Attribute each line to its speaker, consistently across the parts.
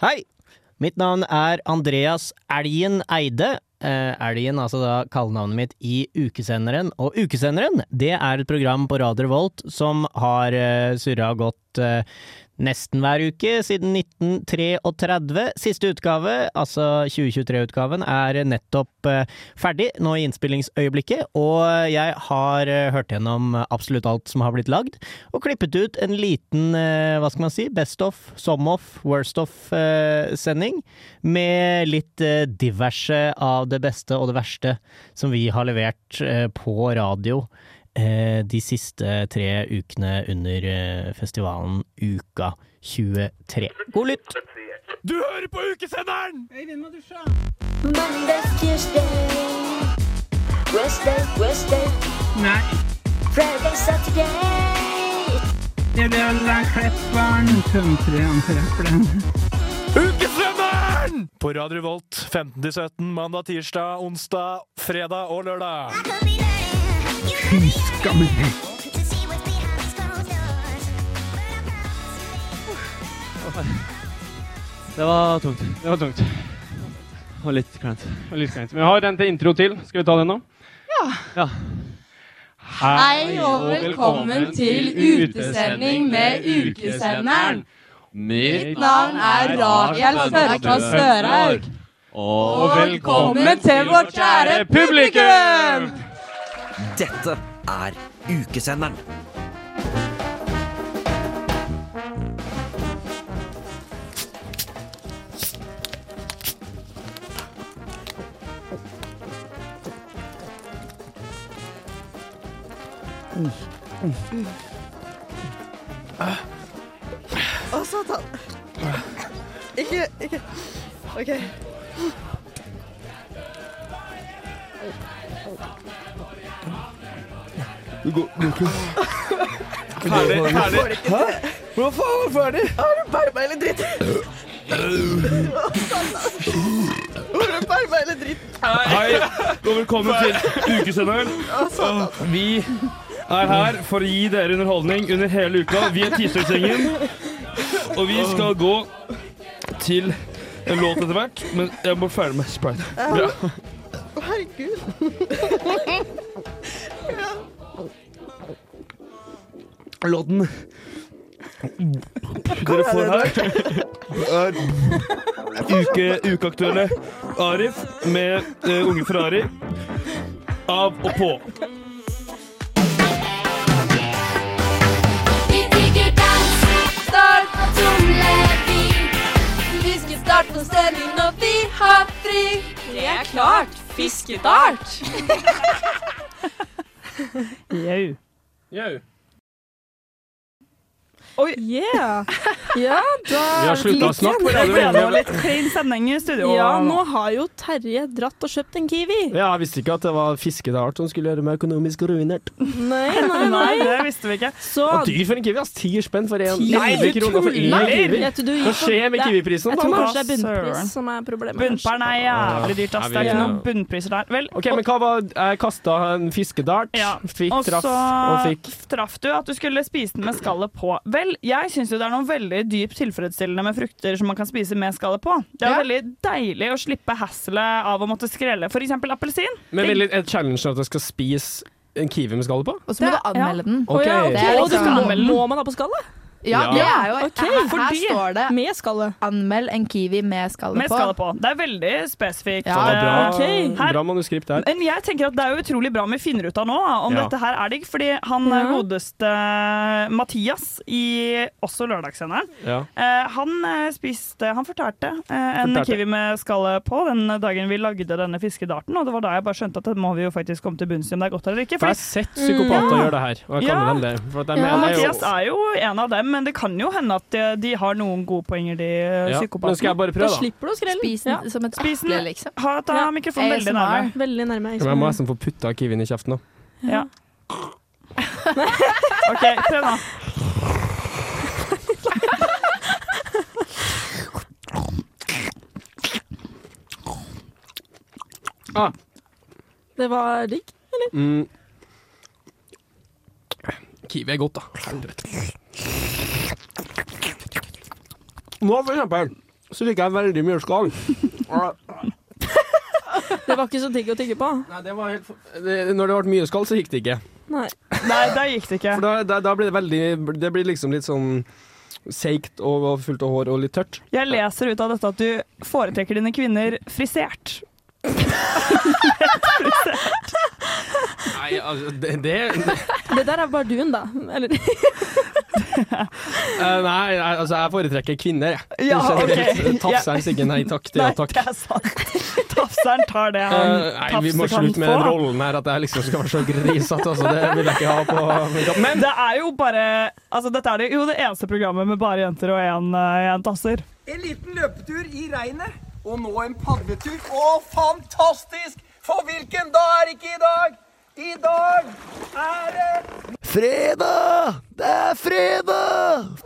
Speaker 1: Hei! Mitt navn er Andreas Elgen Eide. Eh, Elgen, altså da kallenavnet mitt i Ukesenderen. Og Ukesenderen, det er et program på Radio Revolt som har eh, surra godt eh, nesten hver uke siden 1933. Siste utgave, altså 2023-utgaven, er nettopp eh, ferdig nå i innspillingsøyeblikket. Og jeg har eh, hørt gjennom absolutt alt som har blitt lagd, og klippet ut en liten, eh, hva skal man si, best of, som of, worst of-sending, med litt eh, diverse av det beste og det verste som vi har levert eh, på radio eh, de siste tre ukene under eh, festivalen Uka 23. God lytt!
Speaker 2: Du hører på ukesenderen!
Speaker 3: Monday, Tuesday, Wednesday, Wednesday,
Speaker 4: Nei,
Speaker 3: Friday, Saturday.
Speaker 4: det blir Klepperen, tømtreren, trøppelen.
Speaker 2: Ukesenderen! På Radio Revolt 15-17 mandag, tirsdag, onsdag, fredag og lørdag.
Speaker 5: Det var tungt. Det var tungt. Og litt kleint.
Speaker 6: Og lysgreint. Vi har en til intro til. Skal vi ta den nå?
Speaker 5: Ja.
Speaker 7: Hei og velkommen til utesending med Ukesenderen. Mitt navn er Rakel Sørkås Sørhaug.
Speaker 6: Og
Speaker 7: Og velkommen til vårt kjære publikum!
Speaker 8: Dette er Ukesenderen.
Speaker 9: Å, satan. Ikke, ikke. Ok.
Speaker 2: Ferdig, ferdig.
Speaker 9: Hva faen var ferdig? Har du perma eller dritt? Har du perma eller dritt?
Speaker 10: Hei, og velkommen til ukesenderen. Vi er her for å gi dere underholdning under hele uka. Vi er Tirsdagsgjengen, og vi skal gå til en låt etter hvert. Men jeg må ferdig med sprite.
Speaker 9: Å, herregud.
Speaker 10: Låten dere får her, er uke, ukeaktuelle Arif med eh, Unge Ferrari. Av og på.
Speaker 7: Vi digger dans, start på tromlevin. Vi skal starte på sending når vi har fri. Det er klart. Fiskedart.
Speaker 4: Jau.
Speaker 11: Yeah! Ja, da
Speaker 6: Vi har slutta å snakke på Radio
Speaker 11: Det var
Speaker 6: Revolt.
Speaker 11: litt clean stemning i studio.
Speaker 4: Ja, nå
Speaker 11: har jo Terje dratt og kjøpt en kiwi.
Speaker 5: Jeg visste ikke at det var fiskedart som skulle gjøre meg økonomisk ruinert.
Speaker 4: eh,
Speaker 11: Nei, nei, nei.
Speaker 4: det visste vi ikke.
Speaker 11: Så
Speaker 5: Og dyr for en kiwi, ass! Ti spenn for én.
Speaker 11: Sånn. Ti? Nei,
Speaker 5: Elleve
Speaker 11: du
Speaker 5: kroner for én
Speaker 11: tuller!
Speaker 5: kiwi.
Speaker 11: Jeg tror du
Speaker 5: Hva
Speaker 11: gikk for-
Speaker 5: skjer med
Speaker 11: det-
Speaker 5: kiwiprisen?
Speaker 11: Jeg tror
Speaker 5: da?
Speaker 11: kanskje det er
Speaker 4: Søren.
Speaker 11: bunnpris som er problemet.
Speaker 4: Bunnpæren er jævlig dyrt, ass. Det er
Speaker 6: Ja.
Speaker 4: ikke noen bunnpriser der. Vel,
Speaker 5: Ok, men hva var Jeg kasta en fiskedart,
Speaker 4: Ja,
Speaker 5: fikk
Speaker 4: og
Speaker 5: traff
Speaker 4: så
Speaker 5: og fikk
Speaker 4: traff du at du skulle spise den med skallet på. Vel, jeg syns jo det er noe veldig dypt tilfredsstillende med frukter som man kan spise med skallet på. Det er
Speaker 5: Ja.
Speaker 4: veldig deilig å slippe hasselet av å måtte skrelle f.eks. appelsin.
Speaker 5: Men vil en challenge at jeg skal spise en kiwi med skallet på?
Speaker 7: Og så må du anmelde den.
Speaker 5: Ok.
Speaker 7: Det er
Speaker 11: Og du
Speaker 7: liksom-
Speaker 11: må, må man ha på skallet?
Speaker 7: Ja, det er jo
Speaker 11: Ok,
Speaker 7: Her her
Speaker 4: fordi-
Speaker 7: står det
Speaker 11: Med skallet.
Speaker 7: 'anmeld en kiwi med skallet
Speaker 4: Med skallet
Speaker 7: på'.
Speaker 4: på. Det er veldig spesifikt.
Speaker 7: Ja,
Speaker 5: Det var bra,
Speaker 4: Eh, Her-
Speaker 5: bra manuskript der.
Speaker 4: Men jeg tenker at det er jo utrolig bra om vi finner ut av nå da, om
Speaker 6: Ja.
Speaker 4: dette her er digg. Fordi han
Speaker 11: Ja.
Speaker 4: eh, godeste Mathias, i også lørdagssenderen,
Speaker 5: Ja.
Speaker 4: eh, han eh, spiste Han fortalte eh, en
Speaker 5: Fortalte.
Speaker 4: kiwi med skallet på den dagen vi lagde denne fiskedarten. Og det var da jeg bare skjønte at det må vi jo faktisk komme til bunns i om det er godt eller ikke.
Speaker 5: For jeg
Speaker 4: Fordi Mm.
Speaker 5: har sett psykopater gjøre det her, og jeg kaller
Speaker 4: Ja.
Speaker 5: dem det. For at de
Speaker 11: Ja,
Speaker 5: mener jo
Speaker 4: Mathias er jo en av dem, men det kan jo hende at de, de har noen gode poenger, de eh,
Speaker 5: ja. Nå skal jeg
Speaker 4: psykopatene.
Speaker 5: bare
Speaker 11: Da
Speaker 5: prøve, da.
Speaker 11: slipper du å skrelle.
Speaker 7: Spis den som et
Speaker 4: Spis den.
Speaker 7: eple, liksom.
Speaker 4: Ha, ta
Speaker 11: Ja.
Speaker 4: mikrofonen veldig
Speaker 7: ASMR.
Speaker 4: nærme.
Speaker 11: Veldig nærme.
Speaker 5: Men jeg må nesten få putta kiwien i kjeften nå.
Speaker 4: Ja. OK, prøv nå.
Speaker 11: Det var digg.
Speaker 5: Mm. Kiwi er godt, da. Helvete. Nå, for eksempel, så liker jeg veldig Mjølskal.
Speaker 12: Det var ikke så digg å tygge på.
Speaker 5: Nei, det var helt Det- Når det ble mye skall, så gikk det ikke.
Speaker 12: Nei.
Speaker 4: Nei, da gikk det ikke.
Speaker 5: For da, da, da blir det veldig Det blir liksom litt sånn seigt og, og fullt av hår og litt tørt.
Speaker 4: Jeg leser ut av dette at du foretrekker dine kvinner frisert.
Speaker 5: Nei, altså, det, det
Speaker 12: Det der er bardun, da. Eller
Speaker 5: Eh, nei, nei, altså jeg foretrekker kvinner, jeg.
Speaker 4: Ja,
Speaker 5: Generelt.
Speaker 4: ok.
Speaker 5: Tafseren sier ikke nei takk til ja takk.
Speaker 4: Det er sant. Tafseren tar det han
Speaker 5: Eh, nei, vi må
Speaker 4: tafse kan
Speaker 5: slutte med den
Speaker 4: få.
Speaker 5: rollen her at jeg liksom skal være så grisete, altså. Det vil jeg ikke ha på min kropp. Men
Speaker 4: det er jo bare altså, Dette er det, jo det eneste programmet med bare jenter og én eh, én tasser.
Speaker 8: En liten løpetur i regnet, og nå en padletur. Å, fantastisk! For hvilken dag er ikke i dag? I dag er det
Speaker 13: Fredag! Det er fredag!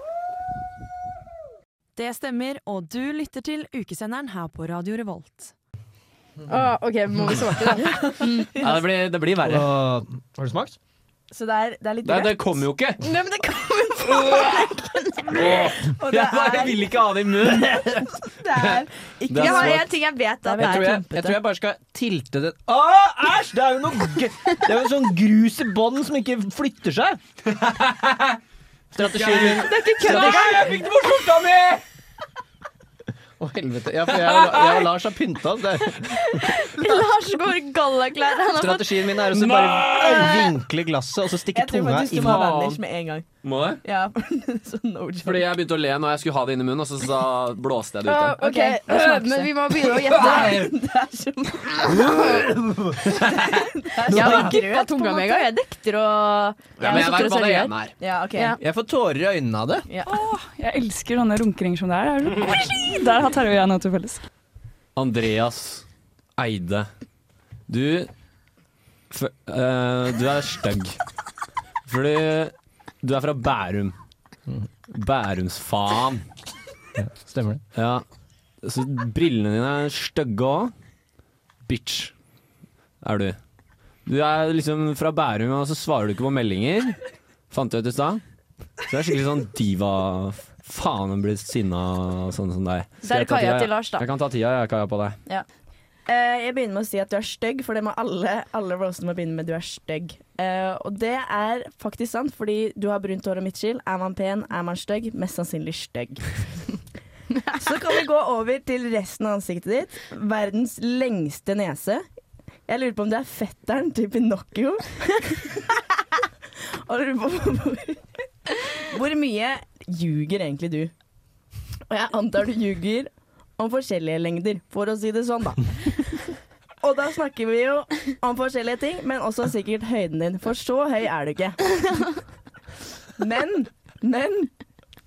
Speaker 11: Det stemmer, og du lytter til ukesenderen her på Radio Revolt.
Speaker 14: Å, OK, må vi svarte, da.
Speaker 13: Ja, det blir, det blir verre.
Speaker 5: har du smakt?
Speaker 14: Så det er, det er litt
Speaker 13: Nei, det
Speaker 14: rødt.
Speaker 13: kommer jo ikke.
Speaker 14: Nei, men det kommer fra Og det
Speaker 13: Jeg bare
Speaker 14: er-
Speaker 13: vil ikke ha det i munnen.
Speaker 14: Det er ikke
Speaker 13: Det er
Speaker 14: Jeg har
Speaker 13: svart.
Speaker 14: en ting jeg vet at det
Speaker 13: Jeg tror
Speaker 14: er
Speaker 13: jeg, jeg
Speaker 14: klumpete.
Speaker 13: tror jeg bare skal tilte det Åh, Æsj! Det er jo noe g- Det er jo sånn grus i bånden som ikke flytter seg. Strategi
Speaker 14: Det er ikke kødd
Speaker 13: Strategi-
Speaker 14: engang!
Speaker 13: Jeg fikk det på skjorta mi! Å, helvete. Ja, for jeg, og- jeg og Lars har pynta oss der.
Speaker 14: Lars går i gallaklær. Han har fått
Speaker 13: Strategien min er også bare vinkle glasset og så stikke
Speaker 14: Jeg tror
Speaker 13: tunga
Speaker 14: faktisk
Speaker 13: i
Speaker 14: du må ha vanish med en gang.
Speaker 15: Må jeg?
Speaker 14: Ja, så no joke.
Speaker 15: Fordi jeg begynte å le når jeg skulle ha det inn i munnen, og så, så blåste jeg det
Speaker 14: Ah,
Speaker 15: ut.
Speaker 14: ok, øh, men vi må begynne å gjette. Det er som Jeg har grøt tunga mi en gang. Jeg nekter å
Speaker 13: Ja, men jeg vet hva det ene er.
Speaker 14: Ja, ok.
Speaker 13: Jeg får tårer i øynene av det.
Speaker 4: Åh, jeg elsker sånne runkeringer som det er. Det er så- Der har Terje og jeg noe til felles.
Speaker 15: Andreas Eide. Du f eh, Du er stygg. Fordi du er fra Bærum. Bærumsfaen.
Speaker 1: Stemmer det.
Speaker 15: Ja. Så brillene dine er stygge òg. Bitch er du. Du er liksom fra Bærum, og så svarer du ikke på meldinger. Fant jeg ut i stad. Så det er skikkelig sånn diva Faen, hun blir sinna og sånn som deg. Skal
Speaker 14: Der
Speaker 15: jeg ta
Speaker 14: kaja
Speaker 15: tida?
Speaker 14: til Lars, da.
Speaker 15: Jeg kan ta tida, jeg, kaja på deg.
Speaker 14: Ja. Eh, jeg begynner med å si at du er stygg, for det må alle, alle rosene må begynne med 'du er stygg'. Eh, og det er faktisk sant, fordi du har brunt hår og midtskill. Er man pen, er man stygg. Mest sannsynlig stygg. Så kan vi gå over til resten av ansiktet ditt. Verdens lengste nese. Jeg lurer på om du er fetteren til Pinocchio. og lurer på hvor, hvor mye ljuger egentlig du? Og jeg antar du ljuger om forskjellige lengder, for å si det sånn, da. Og da snakker vi jo om forskjellige ting, men også sikkert høyden din, for så høy er du ikke. Men, men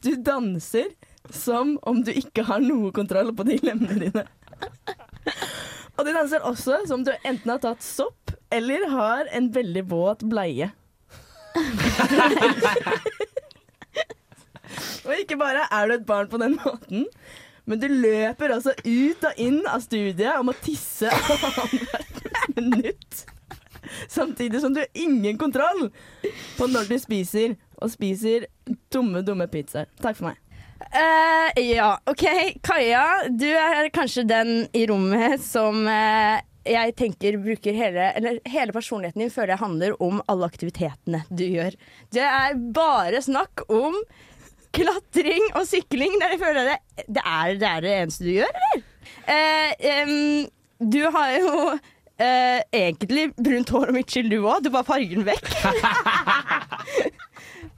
Speaker 14: du danser som om du ikke har noe kontroll på de lemmene dine. Og du danser også som om du enten har tatt sopp eller har en veldig våt bleie. Og ikke bare er du et barn på den måten, men du løper også ut og inn av studiet om å tisse annethvert minutt. Samtidig som du har ingen kontroll på når du spiser, og spiser dumme, dumme pizzaer. Takk for meg.
Speaker 16: Eh, ja, OK. Kaja, du er kanskje den i rommet som eh, jeg tenker bruker hele Eller hele personligheten din føler jeg handler om alle aktivitetene du gjør. Det er bare snakk om klatring og sykling. Det, er- jeg føler det, det, er, det er det eneste du gjør, eller? Eh, em, du har jo eh, egentlig brunt hår og mitt skyld, du òg. Du bare farger den vekk.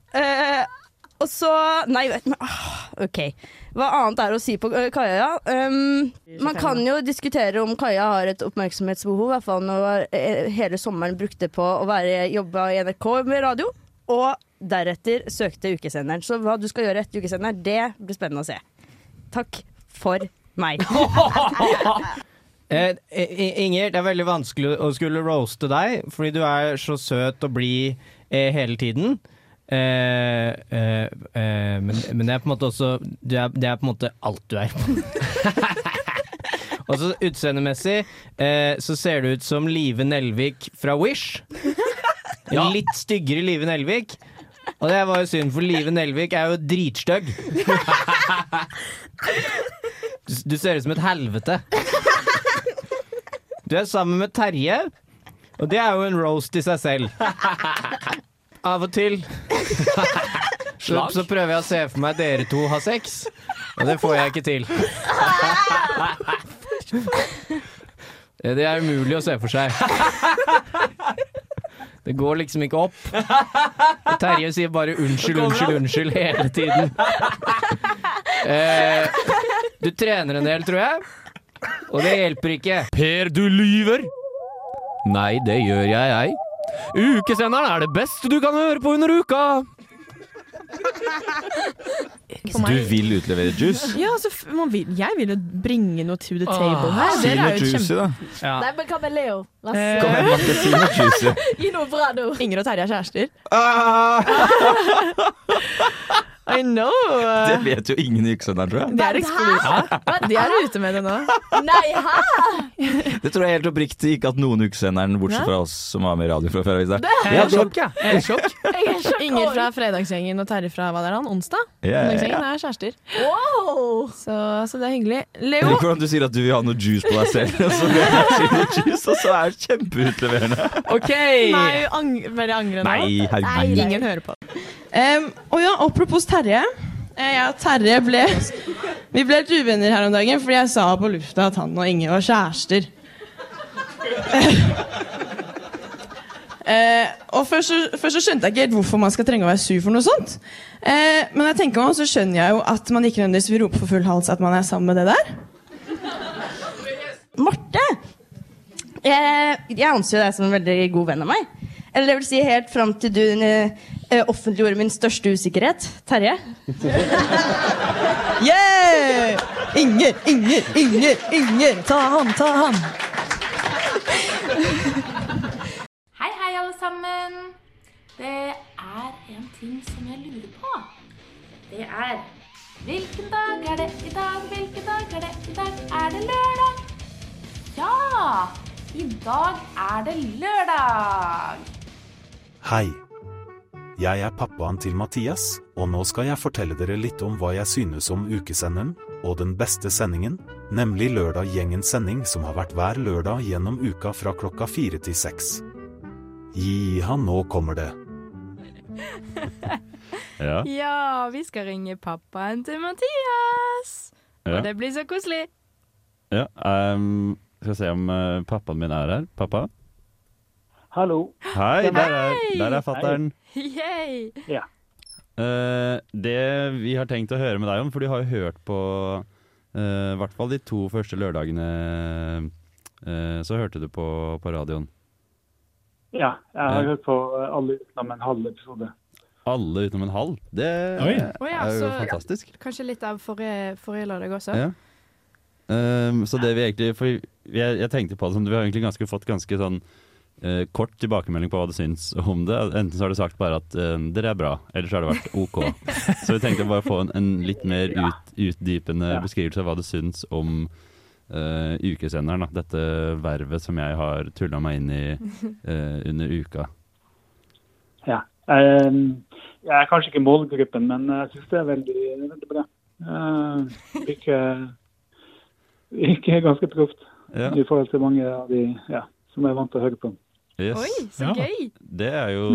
Speaker 16: Eh, og så Nei, vet men, ah, OK. Hva annet er å si på eh, Kaja? ja? Um, man kan jo diskutere om Kaja har et oppmerksomhetsbehov. I hvert fall når eh, hele sommeren brukte på å være jobba i NRK med radio. Og deretter søkte ukesenderen. Så hva du skal gjøre etter ukesenderen, det blir spennende å se. Takk for meg.
Speaker 1: Eh, I- Inger, det er veldig vanskelig å skulle roaste deg, fordi du er så søt og blid eh, hele tiden. Eh, eh, eh, men, men det er på en måte også du er, Det er på en måte alt du er. Og så utseendemessig eh, så ser du ut som Live Nelvik fra Wish. En Litt styggere Live Nelvik. Og det var jo synd, for Live Nelvik er jo dritstygg. Du, du ser ut som et helvete. Du er sammen med Terje, og det er jo en roast i seg selv. Av og til så, så prøver jeg å se for meg dere to har sex, og det får jeg ikke til. Eh, Det er umulig å se for seg. Det går liksom ikke opp. Og Terje sier bare 'unnskyld, unnskyld, unnskyld' hele tiden. Eh, du trener en del, tror jeg, og det hjelper ikke.
Speaker 5: Per, du lyver! Nei, det gjør jeg, jeg. Ukesenderen er det beste du kan høre på under uka!
Speaker 11: meg.
Speaker 5: Du vil utlevere juice?
Speaker 11: Ja, altså, f- man vil, jeg vil jo bringe noe to the table
Speaker 5: Åh,
Speaker 11: her.
Speaker 5: si
Speaker 11: Dere
Speaker 5: noe
Speaker 11: er jo
Speaker 5: juicy, da.
Speaker 11: Ja.
Speaker 14: Nei, men hva med Leo? La oss
Speaker 11: Kom igjen, Marte, si noe juicy.
Speaker 14: Gi noe bra nå.
Speaker 11: Inger og Terje er kjærester.
Speaker 14: I know.
Speaker 11: Det,
Speaker 8: Det vet jo ingen i ukesenderen, tror jeg.
Speaker 11: er eksklusivt.
Speaker 8: Hæ?
Speaker 11: Hva, De er ute med det nå.
Speaker 14: Nei, hæ?
Speaker 8: Det tror jeg helt oppriktig ikke at noen ukesenderen, bortsett
Speaker 11: Nei.
Speaker 8: fra oss som var med i radio fra før, har visst det.
Speaker 11: Jeg er i sjokk, jeg. Jeg er i sjokk.
Speaker 14: Jeg er sjokk
Speaker 11: Inger fra Fredagsgjengen og Terje fra hva det er han, onsdag?
Speaker 8: Ja, ja, ja.
Speaker 11: Fredagsgjengen er kjærester. Så, så det er hyggelig. Leo!
Speaker 8: Eller hvordan du sier at du vil ha noe juice på deg selv, og så vil jeg si noe juice, og så er det kjempeutleverende.
Speaker 11: Ok! Nei, ang veldig angre nå.
Speaker 8: Nei, herregud. Nei,
Speaker 11: Ingen hører på. Um, og ja, apropos Terje. Eh, Jeg og Terje ble Vi ble litt uvenner her om dagen fordi jeg sa på lufta at han og Inge var kjærester. Eh, og først så, først så skjønte jeg ikke helt hvorfor man skal trenge å være sur for noe sånt. Eh, men når jeg tenker meg om, så skjønner jeg jo at man ikke nødvendigvis vil rope for full hals at man er sammen med det der.
Speaker 16: Marte! Jeg, Eh, jeg anser jo deg som en veldig god venn av meg. Eller det vil si helt fram til du eh, offentliggjorde min største usikkerhet, Terje.
Speaker 11: Yeah! Inger, Inger, Inger, Inger! Ta han, ta han!
Speaker 17: Hei, hei, alle sammen. Det er en ting som jeg lurer på. Det er Hvilken dag er det i dag? Hvilken dag er det i dag? Er det lørdag? Ja! I dag er det lørdag!
Speaker 18: Hei. Jeg er pappaen til Mathias, og nå skal jeg fortelle dere litt om hva jeg synes om ukesenderen, og den beste sendingen, nemlig Lørdag Gjengens sending som har vært hver lørdag gjennom uka fra klokka fire til seks. Jiha, nå kommer det.
Speaker 8: Ja.
Speaker 19: Ja, vi skal ringe pappaen til Mathias.
Speaker 20: Ja.
Speaker 19: Og det blir så koselig.
Speaker 20: Ja, ehm, skal se om eh, pappaen min er her. Pappa?
Speaker 3: Hallo.
Speaker 20: Hei, der er, der er fatteren.
Speaker 19: Yay.
Speaker 3: Ja.
Speaker 20: Eh, det vi har tenkt å høre med deg om, for du har jo hørt på eh, i hvert fall de to første lørdagene eh, så hørte du på, på radioen.
Speaker 3: Ja, jeg har
Speaker 20: Ja.
Speaker 3: hørt på eh, alle utenom en halv episode.
Speaker 20: Alle utenom en halv. Det
Speaker 3: Oi.
Speaker 20: er
Speaker 3: Åja,
Speaker 20: jo
Speaker 3: så-
Speaker 20: fantastisk.
Speaker 19: Kanskje litt av forrige, forrige lørdag også.
Speaker 20: Ja. Ehm, så det vi egentlig For jeg, jeg tenkte på det som Du har egentlig ganske, fått ganske sånn eh, kort tilbakemelding på hva du syns om det. Enten så har du sagt bare at eh, dere er bra, eller så har det vært OK. så vi tenkte bare å få en, en litt mer ut, utdypende beskrivelse av hva du syns om eh, ukesenderen. Da. Dette vervet som jeg har tulla meg inn i eh, under uka.
Speaker 3: Ja. Ehm, jeg er kanskje ikke målgruppen, men jeg syns det er veldig, veldig bra. Uh, ikke, ikke ganske proft
Speaker 20: Ja.
Speaker 3: i forhold til mange av de ja, som jeg er vant til å høre på.
Speaker 20: Yes.
Speaker 3: Oi, så Ja. gøy.
Speaker 20: Det er jo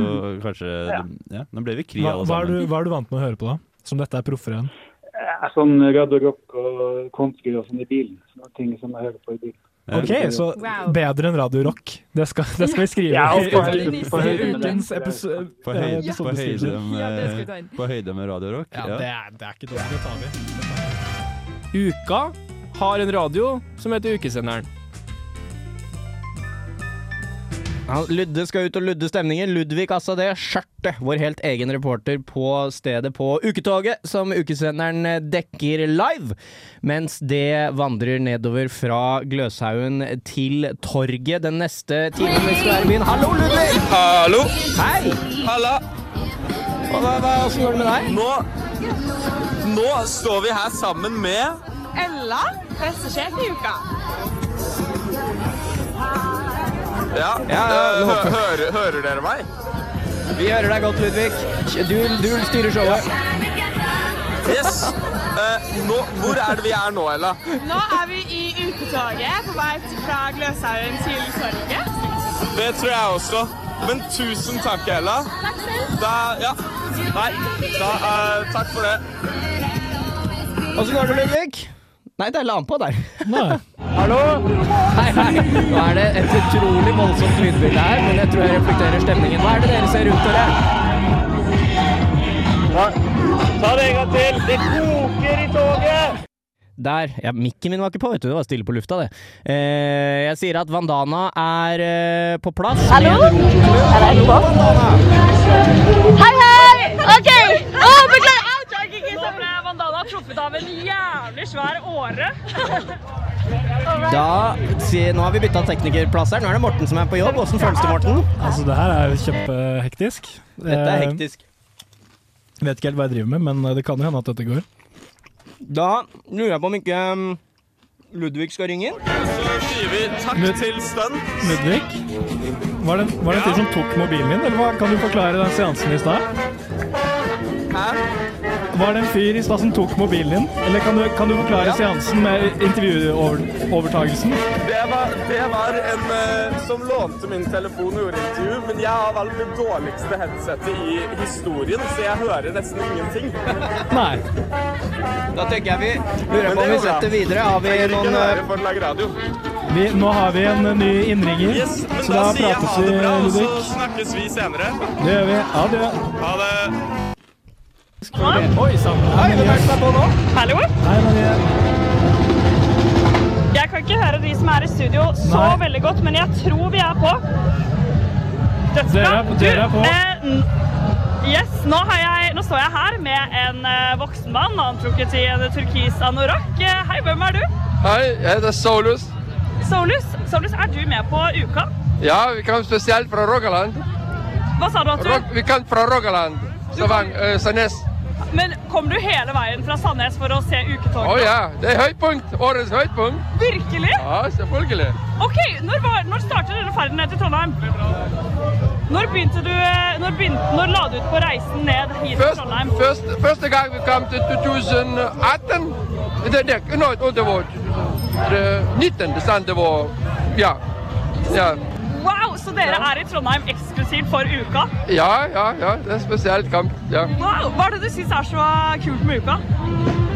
Speaker 20: kanskje ja. nå ble vi kry
Speaker 2: Mhm. Hva,
Speaker 20: alle
Speaker 2: hva, er du,
Speaker 20: sammen.
Speaker 2: hva er du vant med å høre på, da? Som dette er proffere enn?
Speaker 3: Jeg er sånn radio rock og country og sånn i bilen. Sånne ting som jeg hører på i bilen.
Speaker 2: Ok, så bedre enn Radio Rock. Det skal, det skal vi skrive
Speaker 3: Ja, og
Speaker 2: i
Speaker 3: på høyde- på høyde med det.
Speaker 2: ukens episo-
Speaker 20: På høyde, på høyde,
Speaker 2: episodebeskrivelse.
Speaker 20: med, på høyde med Radio Rock.
Speaker 2: Ja, det er, det er ikke dårlig. Det tar vi.
Speaker 11: Uka
Speaker 1: har en radio som heter Ukesenderen. Ja, Ludde skal ut og ludde stemningen. Ludvig altså det skjørtet, vår helt egen reporter på stedet på Uketoget, som ukesenderen dekker live. Mens det vandrer nedover fra Gløshaugen til torget den neste timen vi skal være i byen. Hallo, Ludvig!
Speaker 21: Hallo!
Speaker 1: Hei!
Speaker 21: Halla!
Speaker 1: Hva, hva, hva åssen går det med deg?
Speaker 21: Nå, nå står vi her sammen med
Speaker 11: Ella, pressesjef i uka.
Speaker 21: Ja,
Speaker 1: ja, nå-
Speaker 21: hø- hører- hører dere meg?
Speaker 1: Vi hører deg godt, Ludvig. Du, du styrer showet.
Speaker 21: Yes. Eh, nå, hvor er det vi er nå, Ella?
Speaker 4: Nå er vi i uketoget på vei til- fra Gløshaugen til Sorget.
Speaker 21: Det tror jeg også. Men tusen takk, Ella.
Speaker 4: Takk selv.
Speaker 21: Da, ja. Nei, da, eh, takk for det.
Speaker 1: Åssen går det, Ludvig? Nei, det er la han på der.
Speaker 5: Hallo? Hei, hei. Nå er det et utrolig voldsomt lydbilde her, men jeg tror jeg reflekterer stemningen. Hva er det dere ser rundt dere?
Speaker 1: Ta det en gang til! Det koker i toget! Der. Ja, mikken min var ikke på, vet du. Det var stille på lufta, det. Eh, jeg sier at Vandana er eh, på plass. Hallo? Er det på?
Speaker 4: Hei, hei! OK! Å, beklager! Nå ble Vandana truffet av en jævlig svær åre.
Speaker 1: Da, si, nå har vi bytta teknikerplass her. Nå er det Morten som er på jobb. Åssen føles det, Morten?
Speaker 2: Altså, det her er jo kjempehektisk.
Speaker 1: Dette er hektisk.
Speaker 2: Jeg vet ikke helt hva jeg driver med, men eh, det kan jo hende at dette går.
Speaker 1: Da lurer jeg på om ikke um, Ludvig skal ringe inn.
Speaker 21: Så sier vi takk til Stunt.
Speaker 2: Ludvig, var det, var det en fyr som tok mobilen din, eller hva? Kan du forklare den seansen i stad? Var det en fyr i stad som tok mobilen din? Eller kan du, kan du forklare seansen med intervjuovertagelsen?
Speaker 21: Det var, det var en eh, som lånte min telefon og gjorde intervju, men jeg har valgt det dårligste headsetet i historien, så jeg hører nesten ingenting.
Speaker 2: Nei.
Speaker 1: Da tenker jeg vi
Speaker 21: Men
Speaker 1: lurer
Speaker 21: det
Speaker 1: på om vi
Speaker 21: går bra.
Speaker 1: setter videre. Har vi
Speaker 21: Trenger ikke
Speaker 1: noen
Speaker 21: høre
Speaker 1: eh,
Speaker 21: for å lage radio.
Speaker 2: Vi, nå har vi en ny innringer,
Speaker 21: Yes, men
Speaker 2: så da,
Speaker 21: sier jeg
Speaker 2: prates
Speaker 21: ha
Speaker 2: vi,
Speaker 21: det bra, altså. og så
Speaker 2: Ludvig.
Speaker 21: snakkes vi senere.
Speaker 2: Det gjør vi. Ha det.
Speaker 21: Ha det.
Speaker 2: Oi sann.
Speaker 4: Hei,
Speaker 2: hvem er det som er på nå?
Speaker 4: Hallo?
Speaker 2: Hei, Marie.
Speaker 4: Jeg kan ikke høre de som er i studio så
Speaker 2: Nei.
Speaker 4: veldig godt, men jeg tror vi er på.
Speaker 2: Dere er, dere er på.
Speaker 4: Eh, n- yes, nå, har jeg, nå står jeg her med en eh, voksen mann, antrukket i en turkis anorakk. Eh, hei, hvem er du?
Speaker 13: Hei, jeg heter Solus.
Speaker 4: Solus, Solus, er du med på uka?
Speaker 13: Ja, vi kom spesielt fra Rogaland.
Speaker 4: Hva sa du at
Speaker 13: Rog
Speaker 4: du...
Speaker 13: vi kom fra Rogaland. Stavang, eh, Sandnes.
Speaker 4: Men kom du hele veien fra Sandnes for å se
Speaker 13: Å
Speaker 4: uketoget?
Speaker 13: ja, det er høypunkt. Årets høypunkt.
Speaker 4: Virkelig?
Speaker 13: Ja, selvfølgelig.
Speaker 4: Ok, når, var, når startet denne ferden ned til Trondheim? Når begynte du eh, Når, begynte, når la du ut på reisen ned hit til
Speaker 13: Først,
Speaker 4: Trondheim?
Speaker 13: først, første gang vi kom til 2018. Det, det, no, det var det- 19, det sant, det var Ja. Ja,
Speaker 4: Wow, så dere er i Trondheim eksklusivt for uka?
Speaker 13: ja, ja. ja det er spesielt kamp. Ja.
Speaker 4: Wow, hva er det du syns er så kult med uka?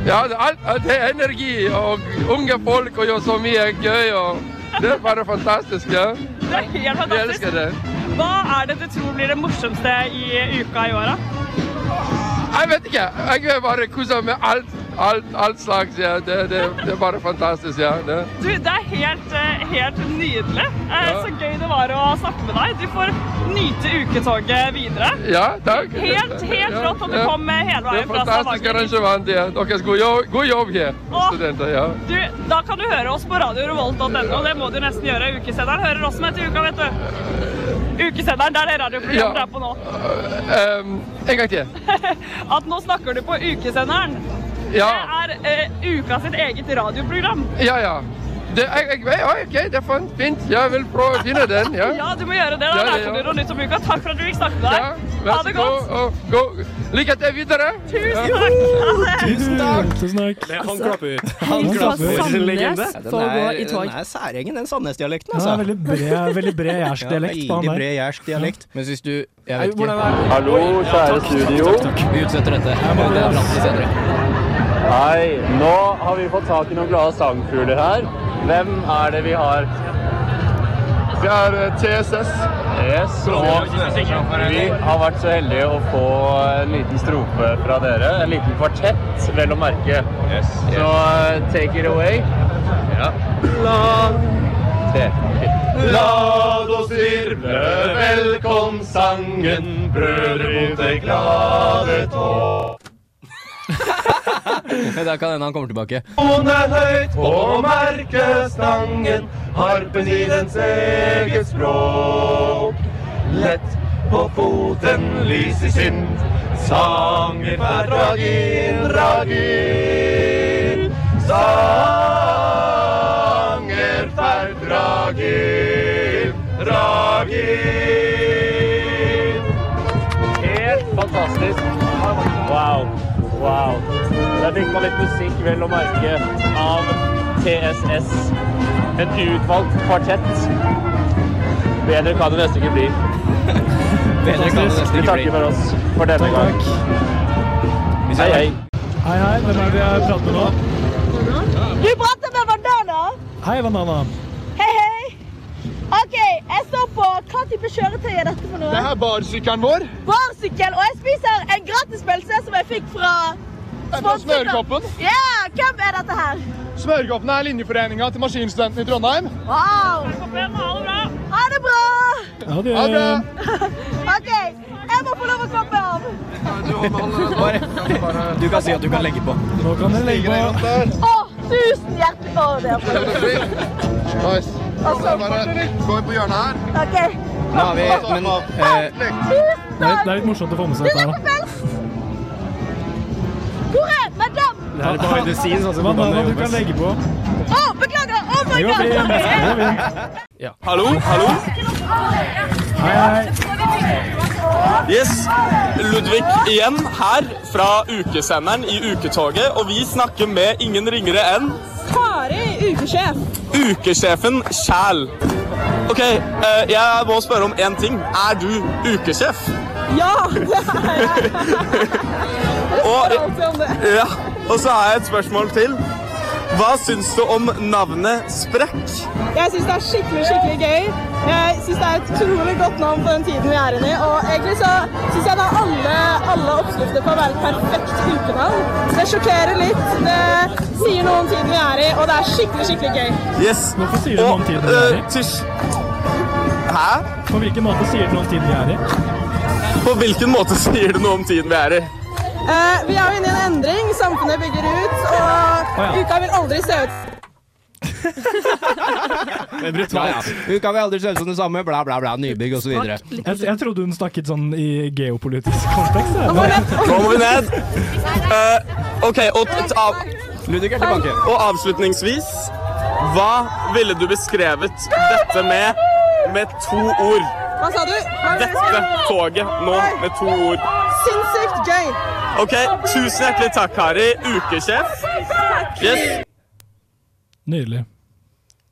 Speaker 13: Ja, det, er alt, alt er energi og unge folk og gjør så mye gøy. og Det er bare fantastisk. ja.
Speaker 4: Det er helt
Speaker 13: Vi
Speaker 4: fantastisk.
Speaker 13: elsker det.
Speaker 4: Hva er det du tror blir det morsomste i uka i år, da?
Speaker 13: Jeg vet ikke. Jeg vil bare kose med alt, alt, alt slags. ja. Det, det, det er bare fantastisk. ja. Det.
Speaker 4: Du, det er helt, eh, helt nydelig. Eh, Så gøy det var å snakke med deg. Du får nyte uketoget videre.
Speaker 13: Ja, takk.
Speaker 4: Helt, helt
Speaker 13: Ja,
Speaker 4: rått at du
Speaker 13: ja.
Speaker 4: kom eh, hele
Speaker 13: Det er
Speaker 4: veien fra
Speaker 13: fantastisk
Speaker 4: Stavanger.
Speaker 13: arrangement. ja. Deres god jobb, god jobb her,
Speaker 4: Åh.
Speaker 13: studenter. ja.
Speaker 4: Du, da kan du høre oss på radiorevolt.no. Det må du nesten gjøre. Ukesenderen hører oss med til uka, vet du. Ukesenderen, det er det radioprogrammet du
Speaker 13: Ja.
Speaker 4: er på nå.
Speaker 13: Ehm, en gang til.
Speaker 4: At nå snakker du på ukesenderen.
Speaker 13: Ja.
Speaker 4: Det er eh, uka sitt eget radioprogram.
Speaker 13: Ja, ja. Det, jeg, jeg, ja, OK, det er fint. fint. Jeg vil prøve å finne den. ja.
Speaker 4: Ja, du må gjøre det. Da
Speaker 13: Ja, ja,
Speaker 4: lærte
Speaker 13: ja.
Speaker 4: du noe nytt om uka. Takk for at du fikk snakke med
Speaker 13: Ja,
Speaker 4: deg.
Speaker 13: vær
Speaker 4: Ha
Speaker 13: så
Speaker 4: det
Speaker 13: god.
Speaker 4: godt.
Speaker 13: og gå- Lykke til videre.
Speaker 4: Tusen
Speaker 13: Ja.
Speaker 4: takk. Ha det.
Speaker 1: Tusen takk!
Speaker 2: Tusen takk. Altså,
Speaker 1: Han
Speaker 2: klapper.
Speaker 1: Han
Speaker 2: Helt fra
Speaker 1: klapper.
Speaker 2: Sandnes
Speaker 1: Legende.
Speaker 2: for
Speaker 1: Den
Speaker 2: å gå
Speaker 1: er,
Speaker 2: i tog.
Speaker 1: den er særegen, den Sandnes-dialekten.
Speaker 2: Ja,
Speaker 1: Altså.
Speaker 2: veldig bred- veldig bred jærsk dialekt
Speaker 1: Ja,
Speaker 2: på han der.
Speaker 1: veldig bred jærsk dialekt. Men hvis du Jeg vet ikke.
Speaker 22: Hallo, kjære studio. Vi utsetter dette. Det er plass til senere. Hei, nå har vi fått tak i noen glade sangfugler her. Hvem er det vi har? Vi har TSS. Yes, og vi har vært så heldige å få en liten strofe fra dere. En liten kvartett, vel å merke. Så eh, take it away. Ja. La oss virvle velkomstsangen, brødre mot det glade tåg.
Speaker 5: Det kan hende han kommer tilbake.
Speaker 22: Tone høyt på merkestangen, harpen i dens eget språk. Lett på foten, lys i sinn, sang i hver ragin, ragin. Sanger ferd ragin, ragin. Helt fantastisk. Wow. Wow. Det er fikk man litt musikk, vel å merke, av TSS. En utvalgt kvartett. Bedre kan det nesten ikke bli.
Speaker 5: Bedre kan det nesten ikke bli.
Speaker 22: Vi takker for oss for denne gang. Hei, hei.
Speaker 2: Hei, hei. Hvem er det jeg prater med nå?
Speaker 17: Du prater med Vandana.
Speaker 2: Hei, Vanana.
Speaker 17: Hei, hei. OK, jeg står på Hva type kjøretøy er dette for noe?
Speaker 6: Det her er barsykkelen vår.
Speaker 17: Barsykkel. Og jeg spiser en gratispølse som jeg fikk fra
Speaker 6: Fra Smørkoppen.
Speaker 17: Ja, hvem er dette her?
Speaker 6: Smørkoppen er linjeforeninga til maskinstudentene i Trondheim.
Speaker 17: Wow. Ha det bra.
Speaker 6: Ha det. Ha det.
Speaker 17: OK, jeg må få lov å klappe av.
Speaker 5: Du kan si at du kan legge på.
Speaker 2: Nå kan dere legge på.
Speaker 17: Å, tusen hjertelig for det.
Speaker 6: Nice. Og så bare går vi på hjørnet her.
Speaker 17: OK.
Speaker 2: Nå har vi-
Speaker 6: sånn
Speaker 2: men, eh,
Speaker 17: Tusen
Speaker 2: Det er, det
Speaker 17: takk.
Speaker 2: er litt morsomt å få med
Speaker 17: Du
Speaker 2: seg dette.
Speaker 17: der
Speaker 2: her,
Speaker 17: på pels! Hvor er madame?
Speaker 2: da. Vanana, du kan legge på.
Speaker 17: Å, beklager! Oh my
Speaker 2: Jo,
Speaker 17: god!
Speaker 2: fint. Jo,
Speaker 17: sorry.
Speaker 2: fint.
Speaker 21: Hallo, hallo.
Speaker 2: Hei, hei.
Speaker 21: Yes, Ludvig igjen her fra ukesenderen i Uketoget, og vi snakker med ingen ringere enn
Speaker 23: Kari, ukesjef.
Speaker 21: ukesjefen Kjæl. Ok, eh, jeg må spørre om én ting. Er du ukesjef?
Speaker 23: Ja, det er jeg.
Speaker 21: Og,
Speaker 23: alltid om det.
Speaker 21: ja, og så har jeg et spørsmål til. Hva syns du om navnet Sprekk?
Speaker 23: Jeg syns det er skikkelig skikkelig gøy. Jeg syns det er et utrolig godt navn på den tiden vi er inne i. Og egentlig så syns jeg det er alle, alle oppskrifter på å være et perfekt ukenavn. Det sjokkerer litt, det sier noe om tiden vi er i, og det er skikkelig skikkelig gøy.
Speaker 21: Yes. eh,
Speaker 2: Hvorfor sier du noe om tiden vi er i?
Speaker 21: Hæ?
Speaker 2: På hvilken måte sier du noe om tiden vi er i?
Speaker 21: På hvilken måte sier du noe om tiden vi er i?
Speaker 23: Eh, vi er jo inne i en endring, samfunnet bygger ut,
Speaker 21: ja.
Speaker 23: og uka vil aldri se ut
Speaker 5: Ja, ja. Uka vil aldri se ut som det samme, bla, bla, bla, nybygg osv.
Speaker 2: Jeg, jeg trodde hun snakket sånn i geopolitisk kontekst. jeg.
Speaker 21: Nå må vi ned. Eh, ok, og, t- av, og avslutningsvis Hva ville du beskrevet dette med med to ord?
Speaker 23: Hva sa du? Hva var det du
Speaker 21: Dette
Speaker 23: sa?
Speaker 21: toget nå med to ord.
Speaker 23: Sinnssykt gøy.
Speaker 21: Ok, Tusen hjertelig takk, Kari. Ukesjef. Yes.
Speaker 2: Nydelig.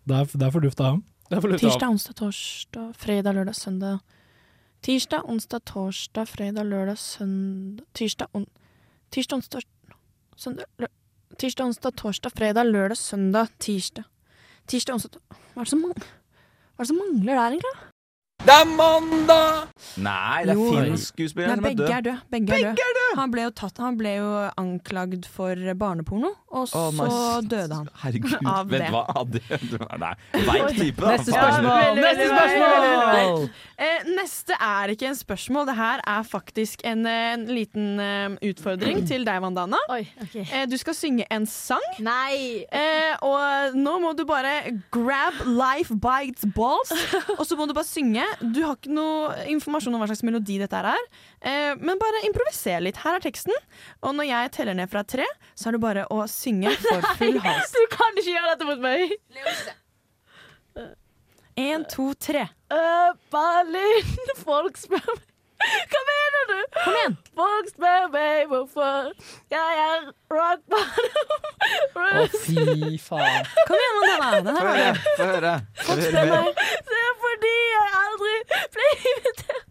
Speaker 2: Det er, det er for lufta av.
Speaker 11: Tirsdag, onsdag, torsdag, fredag, lørdag, søndag. Tirsdag, onsdag, torsdag, fredag, lørdag, søndag Tirsdag, on tirsdag onsdag, søndag, lø tirsdag, onsdag, torsdag, fredag, lørdag, søndag, tirsdag. Tirsdag, onsdag to- Hva er det som, mang Hva er det som mangler der, egentlig?
Speaker 5: Det er mandag!
Speaker 8: Nei, det er
Speaker 11: Jo.
Speaker 8: finsk skuespiller
Speaker 11: Nei,
Speaker 8: som er
Speaker 11: begge er
Speaker 8: død.
Speaker 11: døde. Begge er døde. Han ble jo tatt Han ble jo anklagd for barneporno, og så
Speaker 8: Å, nice.
Speaker 11: døde han.
Speaker 8: Herregud,
Speaker 11: av
Speaker 8: vet
Speaker 11: det.
Speaker 8: hva? Ja, det- Nei, veik type. da.
Speaker 11: Neste
Speaker 8: Faen.
Speaker 11: spørsmål!
Speaker 8: Ja, veldig,
Speaker 11: Neste
Speaker 8: veldig,
Speaker 11: spørsmål!
Speaker 8: veldig, veldig.
Speaker 11: Eh, neste er ikke en spørsmål, det her er faktisk en, eh, en liten eh, utfordring til deg, Vandana. eh, du skal synge en sang. Eh, og nå må du bare grab life by its balls, og så må du bare synge. Du har ikke noe informasjon om hva slags melodi dette her er, eh, men bare improviser litt. Her er teksten, og når jeg teller ned fra tre, så er det bare å synge for full hals.
Speaker 9: Du kan ikke gjøre dette mot meg!
Speaker 11: En, to, tre.
Speaker 9: Øh, Berlin, folk spør meg Hva mener du? Kom igjen! Folk spør meg hvorfor jeg er rockband.
Speaker 5: Å, fy faen.
Speaker 11: Kom igjen, Mandela. Den
Speaker 5: Få
Speaker 11: her
Speaker 5: høre.
Speaker 11: var det.
Speaker 5: Få høre. Få høre mer.
Speaker 9: Det er fordi jeg aldri ble invitert til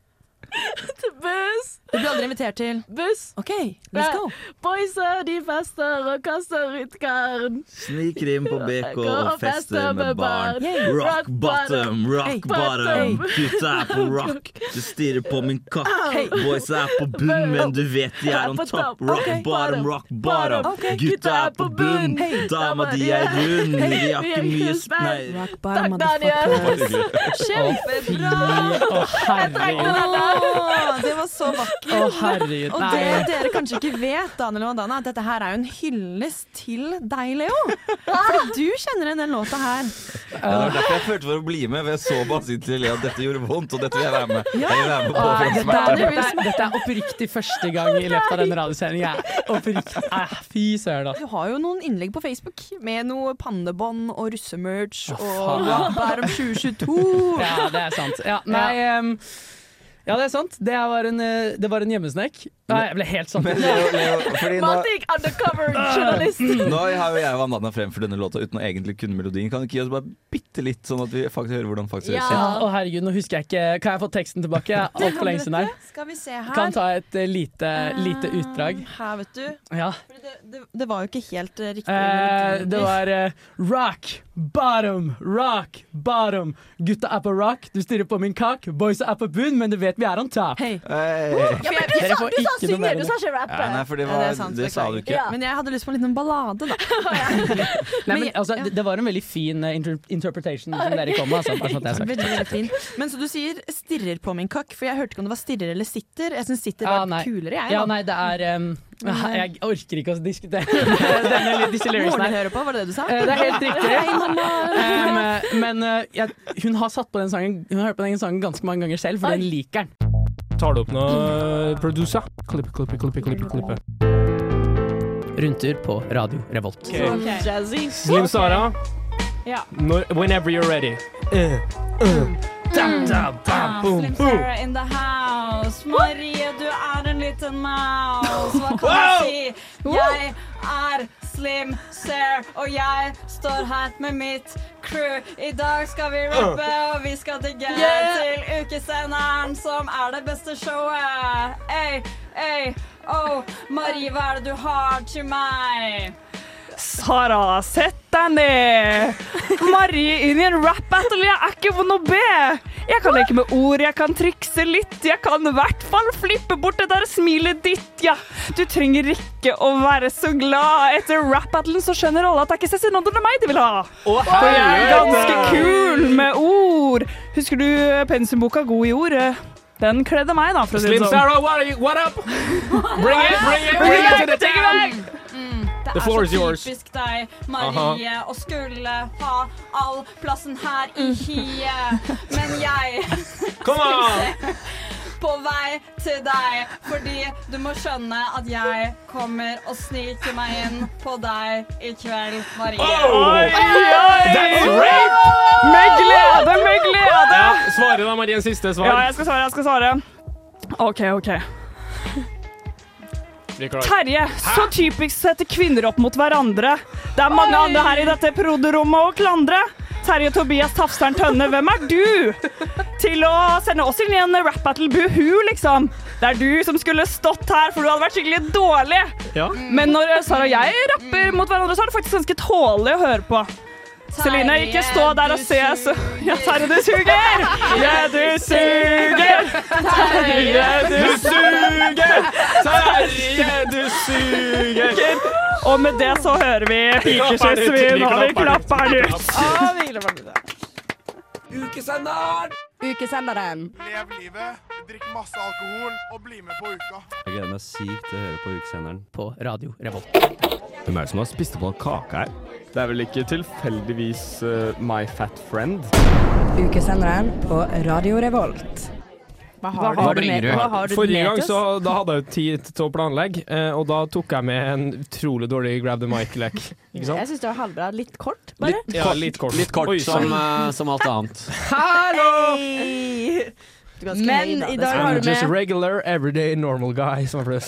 Speaker 9: buss.
Speaker 11: Du blir aldri invitert til
Speaker 9: Buss.
Speaker 11: OK, let's go.
Speaker 9: Boyser, de fester og kaster ut karen.
Speaker 8: Sniker inn på BK og fester med barn.
Speaker 9: Yay.
Speaker 8: Rock bottom,
Speaker 9: Hey.
Speaker 8: rock bottom.
Speaker 9: Bottom.
Speaker 8: Gutta er på rock. Du stirrer på min kakk.
Speaker 9: Hey.
Speaker 8: Boys er på bunn, men du vet de er on
Speaker 9: På
Speaker 8: top.
Speaker 9: topp.
Speaker 8: Rock
Speaker 9: Ok.
Speaker 8: bottom, rock bottom.
Speaker 9: Ok.
Speaker 8: Gutta er på bunn.
Speaker 9: Hey.
Speaker 8: Dama di er rund.
Speaker 9: Hey.
Speaker 8: De har
Speaker 9: Vi
Speaker 8: ikke
Speaker 9: er
Speaker 8: mye
Speaker 9: ikke
Speaker 8: sp... Nei.
Speaker 11: Rock bottom,
Speaker 9: Daniel.
Speaker 11: motherfuckers.
Speaker 9: Kjempebra!
Speaker 11: Åh, det var så vakkert.
Speaker 5: Å, herregud,
Speaker 11: og
Speaker 5: nei.
Speaker 11: det dere kanskje ikke vet, Daniel og Dana, at dette her er jo en hyllest til deg, Leo. For du kjenner igjen den låta her.
Speaker 8: Ja, Det var derfor jeg følte for å bli med, for jeg så bare sin til Lea at dette gjorde vondt, og dette vil jeg være med Jeg vil være med på. for å
Speaker 5: Dette,
Speaker 8: smerte.
Speaker 5: er- dette, er- dette er oppriktig første gang i løpet av denne radiosendingen. Jeg er Oppriktig. Eh, Fy søren,
Speaker 11: Du
Speaker 5: altså.
Speaker 11: har jo noen innlegg på Facebook med noe pandebånd og russemerch og
Speaker 5: faen.
Speaker 11: Rockbærum 2022.
Speaker 5: Ja, det er sant. Ja, nei, ehm, ja, det er sant. Det var en, eh, det var en hjemmesnekk. Nei, jeg ble helt satt
Speaker 8: Men Leo, Leo, fordi nå,
Speaker 9: Matik, undercover journalist.
Speaker 8: Mm.
Speaker 5: Mm.
Speaker 8: nå har jo jeg og Amanda fremført denne låta uten å egentlig kunne melodien. Kan du ikke gi oss bare bitte litt, sånn at vi faktisk hører hvordan den faktisk høres
Speaker 15: Ja.
Speaker 8: ut?
Speaker 15: Å herregud, nå husker jeg ikke Kan jeg få teksten tilbake? Jeg er Altfor lenge siden her.
Speaker 11: Skal vi se her.
Speaker 15: Kan ta et eh, lite, lite
Speaker 11: Ah.
Speaker 15: utdrag.
Speaker 11: Her, vet du.
Speaker 15: Ja.
Speaker 11: Fordi Det, det, det var jo ikke helt eh, riktig.
Speaker 15: Eh, det var eh, rock, bottom, rock, bottom. Gutta er på rock, du stirrer på min kak. Boys er på bunn, men du vet vi er on top.
Speaker 8: Hey.
Speaker 11: Ja, men du
Speaker 15: Dere
Speaker 11: sa-
Speaker 15: får
Speaker 11: du
Speaker 15: ikke
Speaker 11: sa
Speaker 15: noe
Speaker 11: synge,
Speaker 15: mer enn
Speaker 11: du
Speaker 15: det.
Speaker 11: sa ikke rappe.
Speaker 8: Ja, nei, for det
Speaker 15: Ja,
Speaker 8: var-
Speaker 15: er sant,
Speaker 8: det sa du
Speaker 15: beklager.
Speaker 8: ikke.
Speaker 11: Men jeg hadde lyst på en liten ballade, da.
Speaker 15: Nei, men, altså, det, det var en veldig fin eh, inter interpretation som dere kom med. Altså, bare sånn at det er sagt.
Speaker 11: Veldig, veldig fin. Men så du sier 'stirrer på min kakk', for jeg hørte ikke om det var 'stirrer' eller 'sitter'. Jeg syns 'sitter' var
Speaker 15: Ah, nei.
Speaker 11: kulere, jeg.
Speaker 15: Ja,
Speaker 11: da.
Speaker 15: nei, det er um,
Speaker 11: Men, eh,
Speaker 15: Jeg orker ikke å diskutere denne litt- disse lyricsene.
Speaker 11: Moren hører på, var det det du sa?
Speaker 15: Eh, Det er helt riktig.
Speaker 11: Hei, mamma.
Speaker 15: Um, men eh, jeg, hun har satt på den sangen Hun har hørt på den sangen ganske mange ganger selv, for
Speaker 5: Oi.
Speaker 15: den liker den.
Speaker 5: Tar du opp noe producer? Klippe, klippe, klippe, klippe, klippe.
Speaker 15: Rundtur på Radio Revolt.
Speaker 5: Ok.
Speaker 11: Ok. Jazzy.
Speaker 5: Slim Sara,
Speaker 11: Ja.
Speaker 5: når, whenever you're ready.
Speaker 4: Eh,
Speaker 5: Uh, uh. Dam, dam,
Speaker 7: Ah,
Speaker 5: bam, boom,
Speaker 7: Slim
Speaker 5: boom.
Speaker 7: Sarah in the house. Marie, du er en liten mouse. Hva kan
Speaker 5: Wow!
Speaker 7: jeg si? Jeg er Slim Sarah, og jeg står her med mitt crew. I dag skal vi
Speaker 5: Ah.
Speaker 7: rappe, og vi skal digge
Speaker 11: Yeah!
Speaker 7: til ukesenderen, som er det beste showet. Ey, ey, oh, Marie, hva er det du har til meg?
Speaker 4: Sara, sett deg ned! Marie inn i en rap-battle, jeg er ikke vond å be! Jeg kan leke med ord, jeg kan trikse litt, jeg kan i hvert fall flippe bort det der smilet ditt, ja. Du trenger ikke å være så glad. Etter rap-battlen så skjønner alle at det er ikke Cezinando, det er meg de vil ha. For jeg er ganske kul med ord. Husker du pensumboka God i ord? Den kledde meg, da, for å si det
Speaker 5: Slim
Speaker 4: sånn.
Speaker 5: Sarah, what, are you, what up? Bring it, bring it, bring it to the
Speaker 4: Take it
Speaker 5: town!
Speaker 4: back!
Speaker 7: Mm, det
Speaker 5: The floor
Speaker 7: er
Speaker 5: is
Speaker 7: så
Speaker 5: yours.
Speaker 7: typisk deg, Marie, å skulle ha all plassen her i
Speaker 5: Mm.
Speaker 7: hiet. Men jeg
Speaker 5: Come on!
Speaker 7: på vei til deg, fordi du må skjønne at jeg kommer og sniker meg inn på deg i kveld, Marie.
Speaker 5: Oi, oi! Oh! That's right!
Speaker 4: Med glede, med glede!
Speaker 5: Ja, svare da, Marie, en siste svar.
Speaker 4: Ja, jeg skal svare, jeg skal svare. OK, OK.
Speaker 5: Vi er klare.
Speaker 4: Terje, så typisk setter kvinner opp mot hverandre. Det er mange andre her i dette proderommet å klandre. Terje Tobias Tafseren Tønne, hvem er du? Til å sende oss inn i en rap battle, buhu, liksom. Det er du som skulle stått her, for du hadde vært skikkelig dårlig.
Speaker 5: Ja.
Speaker 4: Men når Sara og jeg rapper mot hverandre, så er det faktisk ganske tålelig å høre på. Celine, ikke stå der og se så Ja, Terje, du suger! Ja, du suger! Terje, du suger! Terje, du suger! Og med det så hører vi Pikeskyssvin, og vi klapper den ut.
Speaker 24: Ukesenderen!
Speaker 25: Ukesenderen.
Speaker 26: Lev livet, drikk masse alkohol og bli med på uka.
Speaker 27: Jeg gleder meg sykt til å høre på ukesenderen.
Speaker 15: På Radio Revolt.
Speaker 27: Hvem er det som har spist opp all kake her?
Speaker 14: Det er vel ikke tilfeldigvis eh, My Fat Friend?
Speaker 25: Ukesenderen på Radio Revolt.
Speaker 16: Hva
Speaker 14: har Hva du bringer med- du? hva
Speaker 16: har du
Speaker 5: Forrige
Speaker 16: med
Speaker 5: gang
Speaker 16: til oss?
Speaker 5: så, da hadde jeg jo tid til å planlegge, eh, og da tok jeg med en utrolig dårlig grab the mic-lek. Ikke sant?
Speaker 16: Jeg syns det var halvbra. Litt kort, bare.
Speaker 14: Litt
Speaker 5: Ja, litt kort.
Speaker 14: Litt kort
Speaker 5: Oi,
Speaker 14: som,
Speaker 5: sorry.
Speaker 14: eh, som alt annet.
Speaker 16: Hallo!
Speaker 14: høy
Speaker 16: Men
Speaker 14: da,
Speaker 16: i dag
Speaker 5: I'm
Speaker 16: har du
Speaker 5: just a
Speaker 16: med
Speaker 5: regular, everyday, normal guy, som jeg pleier å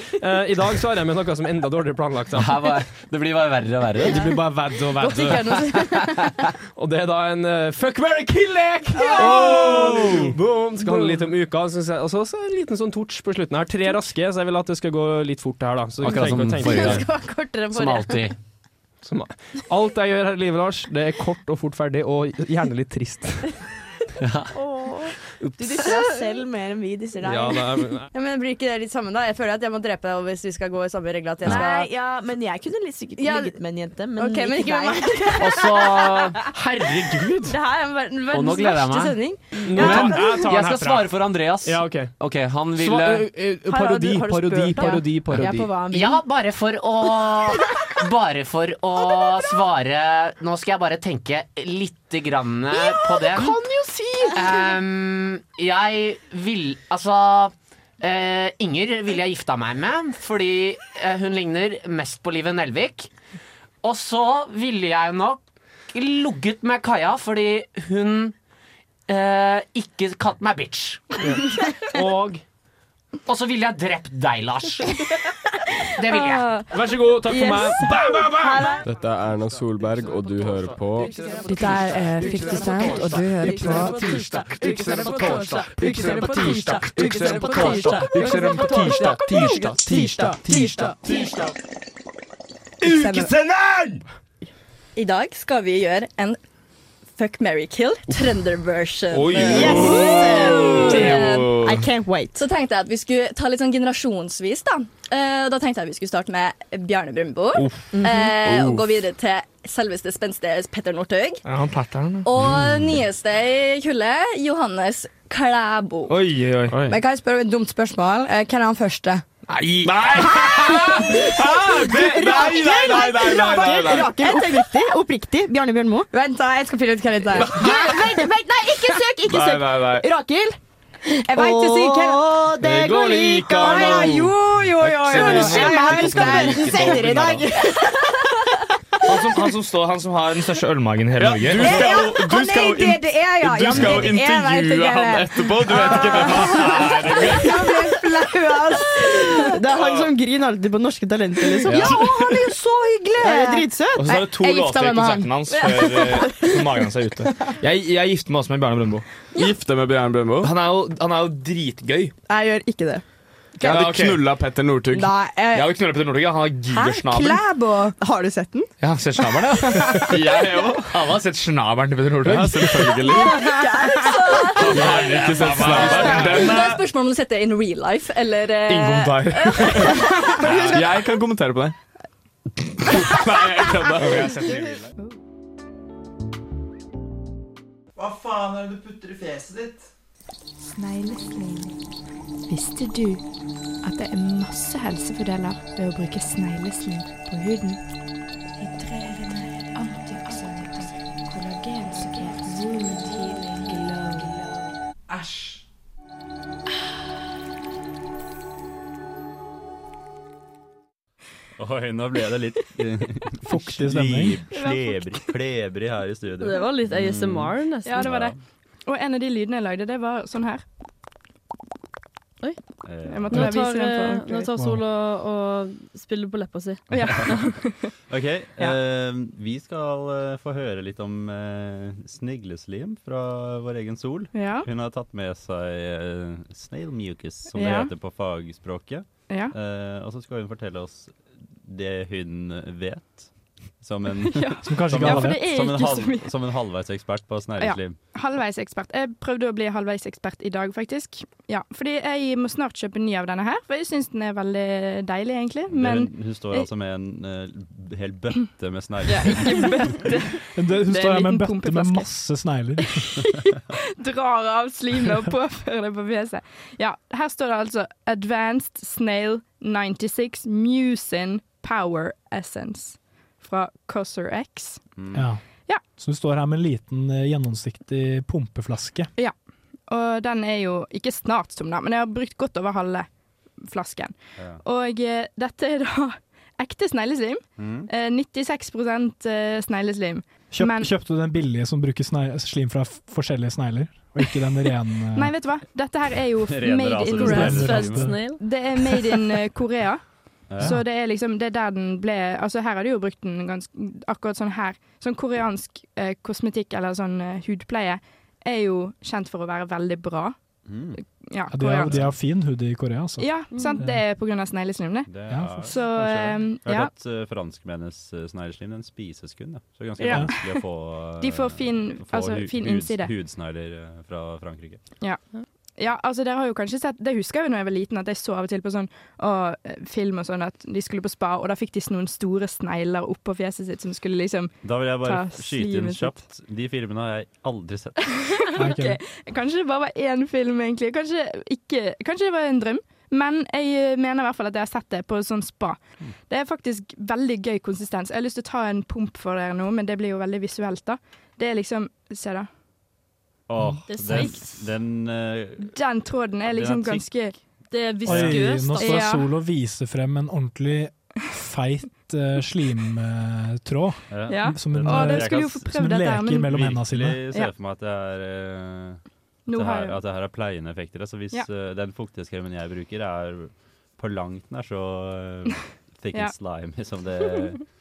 Speaker 5: si. Eh, I dag så har jeg med noe som er enda dårligere planlagt. da.
Speaker 14: Her var, det blir bare verre og verre.
Speaker 5: Det blir bare vedd og
Speaker 14: Godt ikke er
Speaker 5: vedd. og det er da en eh, fuck, marry, kill-lek!
Speaker 14: Oh!
Speaker 5: Boom! Skal handle litt om uka. synes jeg. Og så så en liten sånn torch på slutten her. Tre raske, så jeg vil at det skal gå litt fort her, da. Så trenger
Speaker 14: Akkurat
Speaker 5: ikke å
Speaker 14: som
Speaker 5: tenke-
Speaker 14: forrige gang.
Speaker 16: kortere enn
Speaker 14: Som alltid.
Speaker 5: Som, alt jeg gjør her i livet, Lars, det er kort og fort ferdig, og gjerne litt trist.
Speaker 16: Du disser deg selv mer enn vi disser deg.
Speaker 5: Ja, det er-
Speaker 16: Ja, men blir ikke det litt samme, da? Jeg føler at jeg må drepe deg hvis vi skal gå i samme regle. At
Speaker 14: jeg skal-
Speaker 16: Nei, ja, men jeg kunne litt sikkert
Speaker 9: Ja,
Speaker 16: ligget med en jente, men
Speaker 9: ok, men
Speaker 16: ikke
Speaker 9: ikke
Speaker 16: med meg.
Speaker 9: med
Speaker 14: Og så Herregud!
Speaker 16: Det her er verdens
Speaker 14: Og nå
Speaker 16: verdens
Speaker 14: gleder jeg
Speaker 16: verste
Speaker 14: meg.
Speaker 16: sending.
Speaker 5: Mm.
Speaker 14: Men
Speaker 16: Ja.
Speaker 14: jeg, skal svare for Andreas.
Speaker 5: Ja, ok.
Speaker 14: han ville
Speaker 5: Sva- ø, ø, Eh, parodi, Har du- har du parodi, spurt? parodi, Ja. parodi. Ja, på hva han vil.
Speaker 28: Ja, bare for å Bare for å svare Nå skal jeg bare tenke lite grann eh, på den.
Speaker 16: kan jo si!
Speaker 28: Ehm, jeg vil Altså eh, Inger ville jeg gifta meg med, fordi eh, hun ligner mest på Live Nelvik. Og så ville jeg nok ligget med Kaja, fordi hun eh, ikke kalte meg bitch.
Speaker 5: Og
Speaker 15: Og så ville jeg drept deg, Lars. Det ville jeg.
Speaker 10: Vær så god, takk for
Speaker 15: Yes.
Speaker 10: meg. Bam, bam, bam!
Speaker 21: Dette er Erna Solberg, og du hører på
Speaker 16: Dette er eh, 50 Cent, og du hører på
Speaker 8: Ukesending på torsdag,
Speaker 16: ukesending på tirsdag,
Speaker 8: ukesending på torsdag, ukesending på tirsdag, tirsdag, tirsdag, tirsdag,
Speaker 29: tirsdag.
Speaker 8: Ukesenderen!
Speaker 17: I dag skal vi gjøre en Fuck, marry, kill trønder-version.
Speaker 8: Oi.
Speaker 17: Yes!
Speaker 8: Oi.
Speaker 17: I can't wait. Så tenkte jeg at vi skulle ta litt sånn generasjonsvis, da. Eh, Da tenkte jeg vi skulle starte med Bjarne Brumbo.
Speaker 15: Uff.
Speaker 17: eh,
Speaker 8: Mhm.
Speaker 17: Og
Speaker 15: Uff.
Speaker 17: gå videre til selveste spenstige Petter Northug.
Speaker 10: Ja, han Petteren.
Speaker 17: Og nyeste i kullet, Johannes Klæbo.
Speaker 10: Oi, oi, oi.
Speaker 16: Men kan jeg spørre et dumt spørsmål? Eh, Hvem er han første?
Speaker 10: Nei!
Speaker 8: Hæ? Det- nei, nei, nei, nei, nei, nei, nei.
Speaker 16: Rakel, oppriktig, oppriktig, Bjarne Bjørnmo. Vent, da, jeg skal finne ut hva dette er. Du, Vent, vent, nei, ikke søk, ikke
Speaker 8: Nei,
Speaker 16: søk.
Speaker 8: nei, nei.
Speaker 16: Rakel. Jeg veit du sier hvem
Speaker 8: Åh, det Det går går like an an å- å-
Speaker 16: Jo, jo, jo. jo.
Speaker 10: Skjønner du?
Speaker 16: Unnskyld meg,
Speaker 10: Jeg
Speaker 16: vi skal
Speaker 10: kan
Speaker 16: være
Speaker 10: ikke
Speaker 16: senere i dag.
Speaker 10: Han som, han, som står, han som har den største ølmagen i hele Norge.
Speaker 16: du skal jo- Ja, du han skal er jo in- det det er, E, ja.
Speaker 10: Du
Speaker 16: Ja, men
Speaker 10: skal jo
Speaker 16: det det er, vet ikke
Speaker 10: intervjue
Speaker 16: jeg.
Speaker 10: han etterpå. Du vet ikke hvem han er.
Speaker 11: Jeg ble flau, ass. Det er han som griner alltid på Norske Talenter, liksom.
Speaker 10: Ja,
Speaker 11: han er jo så hyggelig! Han er dritsøt.
Speaker 10: Og så er det to låter i konserten hans før eh, magen hans er ute. Jeg, jeg gifter meg også med Bjarne Brøndbo.
Speaker 21: Gifte med Bjørn Brøndbo?
Speaker 10: Han, er jo- han er jo dritgøy.
Speaker 11: Jeg gjør ikke det.
Speaker 21: Jeg hadde
Speaker 10: Ja, ok.
Speaker 21: knulla Petter Northug.
Speaker 11: Nei, jeg-
Speaker 10: Jeg vil knulle Petter Northug. ja. Han har gigersnabel.
Speaker 11: Klæbo! Har du sett den?
Speaker 10: Ja, har sett snabelen, ja. Jeg òg. Alle har sett snabelen til Petter Northug.
Speaker 21: Ja, selvfølgelig. Jeg har ikke sett snabelen.
Speaker 17: Det
Speaker 21: Den
Speaker 17: er et
Speaker 21: er
Speaker 17: spørsmål om du setter in real life, eller eh,
Speaker 21: Ingen kommentar. Jeg kan kommentere på det. Nei, jeg kødder.
Speaker 8: Hva faen er det du putter i fjeset ditt?
Speaker 30: Visste du at det er masse helsefordeler ved å bruke snegleslim på huden?
Speaker 8: Æsj.
Speaker 20: Oi, nå ble det litt
Speaker 2: Fuktig stemning.
Speaker 20: Slebrig, klebrig her i studio.
Speaker 19: Det var litt ASMR,
Speaker 20: Mm.
Speaker 19: Ja, det var det. Og en av de lydene jeg lagde, det var sånn her.
Speaker 31: Oi.
Speaker 19: Jeg måtte
Speaker 31: Nå
Speaker 19: bare vise
Speaker 31: tar,
Speaker 19: den
Speaker 31: eh,
Speaker 19: for
Speaker 31: nå tar Sol og, og spiller på leppa si.
Speaker 19: Ja.
Speaker 20: Ok, eh, vi skal eh, få høre litt om eh, snegleslim fra vår egen Sol.
Speaker 19: Ja.
Speaker 20: Hun har tatt med seg eh, snail mucus, som det
Speaker 19: Ja.
Speaker 20: heter på fagspråket.
Speaker 19: Ja.
Speaker 20: Eh, og så skal hun fortelle oss det hun vet. Som en,
Speaker 19: Ja. Som kanskje ikke alle Ja, for det vet. er
Speaker 20: Som en,
Speaker 19: ikke så mye.
Speaker 20: som en halvveisekspert på sånn snegleslim.
Speaker 19: Halvveisekspert. Jeg prøvde å bli halvveisekspert i dag, faktisk. Ja, fordi jeg må snart kjøpe ny av denne her, for jeg syns den er veldig deilig, egentlig.
Speaker 20: Det-
Speaker 19: Men
Speaker 20: hun, hun står altså med en eh, hel bøtte med
Speaker 19: Ja,
Speaker 20: snegleslim.
Speaker 2: Det, hun
Speaker 19: Det er
Speaker 2: står her
Speaker 19: en
Speaker 2: med en
Speaker 19: liten
Speaker 2: bøtte med masse snegler.
Speaker 19: drar av slimet og påfører det på fjeset. Ja, her står det altså Advanced Snail 96 Mucin Power Essence fra Cosser X.
Speaker 2: Ja.
Speaker 19: Ja.
Speaker 2: Så hun står her med en liten eh, gjennomsiktig pumpeflaske.
Speaker 19: Ja, og den er jo ikke snart tom, da, men jeg har brukt godt over halve flasken.
Speaker 2: Ja.
Speaker 19: Og eh, dette er da ekte snegleslim. Eh, 96 eh, snegleslim.
Speaker 2: Mm. Kjøp,
Speaker 19: Men-
Speaker 2: Kjøpte du den billige som bruker sne- slim fra f- forskjellige snegler, og ikke den eh? rene
Speaker 19: Nei, vet du hva? Dette her er jo f-
Speaker 2: Ren
Speaker 19: made
Speaker 2: rase,
Speaker 19: in
Speaker 2: altså, det er Grass-fed snail.
Speaker 19: Det er made in eh, Korea.
Speaker 2: Ja.
Speaker 19: Så det er liksom Det er der den ble Altså, her har de jo brukt den ganske Akkurat sånn her. Sånn koreansk eh, kosmetikk eller sånn eh, hudpleie er jo kjent for å være veldig bra. Ja,
Speaker 2: Ja, de, har,
Speaker 19: koreansk.
Speaker 2: de har fin hud i Korea, altså.
Speaker 19: Ja, sant. Det er på grunn av snegleslim, det.
Speaker 20: Det
Speaker 2: Ja,
Speaker 20: er-
Speaker 19: Så
Speaker 20: kanskje.
Speaker 19: ehm,
Speaker 20: Jeg har
Speaker 19: ja.
Speaker 20: hørt at eh, franskmennenes eh, snegleslim den spises kun. Da. Så det er ganske
Speaker 19: Ja.
Speaker 20: vanskelig å få eh,
Speaker 19: De får fin-
Speaker 20: få
Speaker 19: altså,
Speaker 20: hu-
Speaker 19: fin
Speaker 20: hud-
Speaker 19: innside.
Speaker 20: Hudsnegler eh, fra Frankrike.
Speaker 19: Ja. ja, altså dere har jo kanskje sett Det husker jeg jo da jeg var liten, at jeg så av og til på sånn å, eh, film og sånn at de skulle på spa, og da fikk de sånn noen store snegler oppå fjeset sitt som skulle liksom
Speaker 20: Da vil jeg bare
Speaker 19: ta
Speaker 20: f- skyte inn
Speaker 19: slimet sitt.
Speaker 20: kjapt. De filmene har jeg aldri sett.
Speaker 19: Ok, Kanskje det bare var én film, egentlig. Kanskje, ikke, kanskje det var en drøm. Men jeg eh, mener i hvert fall at jeg har sett det på sånn spa.
Speaker 20: Mm.
Speaker 19: Det er faktisk veldig gøy konsistens. Jeg har lyst til å ta en pump for dere nå, men det blir jo veldig visuelt, da. Det er liksom Se, da.
Speaker 20: Åh,
Speaker 19: Det er
Speaker 20: den,
Speaker 19: seigt.
Speaker 20: den eh,
Speaker 19: Den tråden
Speaker 20: Den
Speaker 19: er
Speaker 20: er
Speaker 19: liksom
Speaker 20: tykk.
Speaker 19: ganske
Speaker 31: Det er
Speaker 2: Oi, nå står
Speaker 19: Ja.
Speaker 2: Sol og viser frem en ordentlig feit eh, slimtråd.
Speaker 20: ja.
Speaker 19: Ja.
Speaker 2: Som hun,
Speaker 19: Å, den
Speaker 2: eh,
Speaker 19: skulle jo få
Speaker 2: som hun
Speaker 19: prøvd dette her,
Speaker 2: leker
Speaker 19: men-
Speaker 2: mellom hendene sine.
Speaker 20: Virkelig ser for meg at det er eh, det
Speaker 19: har
Speaker 20: her,
Speaker 19: jeg-
Speaker 20: at det her er pleiende effekter. Altså hvis
Speaker 19: Ja.
Speaker 20: eh, den fuktighetskremen jeg bruker, er på langt nær så eh, thick
Speaker 19: Ja.
Speaker 20: and slimy som det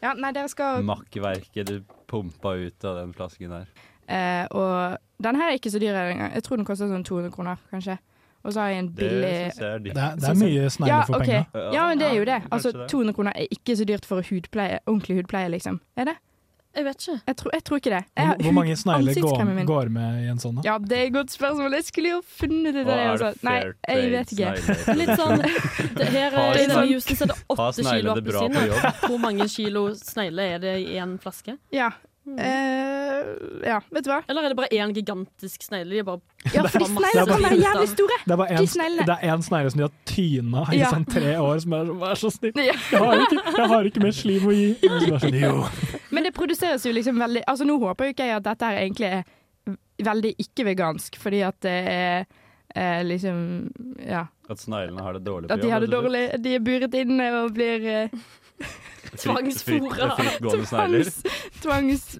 Speaker 19: Ja, nei, dere skal
Speaker 20: makkverket du pumpa ut av den flasken der.
Speaker 19: eh, Og den her er ikke så dyr engang. Jeg tror den koster sånn 200 kroner, kanskje. Og så har jeg en
Speaker 20: Det
Speaker 19: billig
Speaker 20: synes jeg er dyrt.
Speaker 2: Det er- det er mye snegler
Speaker 19: ja,
Speaker 2: for
Speaker 19: ok.
Speaker 2: penger.
Speaker 19: Ja, men det er jo det.
Speaker 2: Ja,
Speaker 19: Altså,
Speaker 2: kanskje det.
Speaker 19: 200 kroner er ikke så dyrt for hudpleie, ordentlig hudpleie, liksom. Er det?
Speaker 11: Jeg vet ikke.
Speaker 19: Jeg tror, jeg tror ikke det. Jeg har
Speaker 2: Hvor, hvor mange
Speaker 19: hud-
Speaker 2: snegler
Speaker 19: ansiktskremen
Speaker 2: går,
Speaker 19: min.
Speaker 2: går med i en sånn? da?
Speaker 19: Ja, det er et godt spørsmål. Jeg skulle jo funnet det
Speaker 2: Hva
Speaker 19: der.
Speaker 2: er det
Speaker 19: Altså. Nei,
Speaker 2: fair
Speaker 19: jeg vet
Speaker 2: trade
Speaker 19: ikke.
Speaker 2: snegler? Litt
Speaker 11: sånn- Det her Har- er i denne Sånn- jusen så er det
Speaker 20: Har
Speaker 11: åtte
Speaker 20: sneglene
Speaker 11: kilo
Speaker 20: det bra på
Speaker 11: appelsiner.
Speaker 20: jobb?
Speaker 11: Hvor mange kilo snegler er det i en flaske? Mm.
Speaker 19: Ja.
Speaker 11: Eh,
Speaker 19: ja, vet du hva?
Speaker 11: Eller er det bare én gigantisk snegle? De er bare
Speaker 19: Ja, for de sneglene kan være jævlig store.
Speaker 2: Det er bare
Speaker 19: De
Speaker 2: en,
Speaker 19: sneglene.
Speaker 2: det er en snegle som de har tyna i
Speaker 19: Ja.
Speaker 2: sånn tre år, som er sånn Vær så snill, jeg har ikke, jeg har ikke mer slim å gi. Og så er det sånn, jo.
Speaker 19: Men det produseres jo liksom veldig Altså Nå håper jo ikke jeg at dette her egentlig er v- veldig ikke-vegansk, fordi at det er eh, liksom Ja.
Speaker 20: At sneglene har det dårlig altså. på
Speaker 19: At de
Speaker 20: jobb,
Speaker 19: har
Speaker 20: rett
Speaker 19: det
Speaker 20: og slett.
Speaker 19: dårlig. De er buret inne og blir eh,
Speaker 20: Fritt-
Speaker 19: tvangsfôra.
Speaker 20: fritt- Frittgående snegler.
Speaker 19: Tvangs...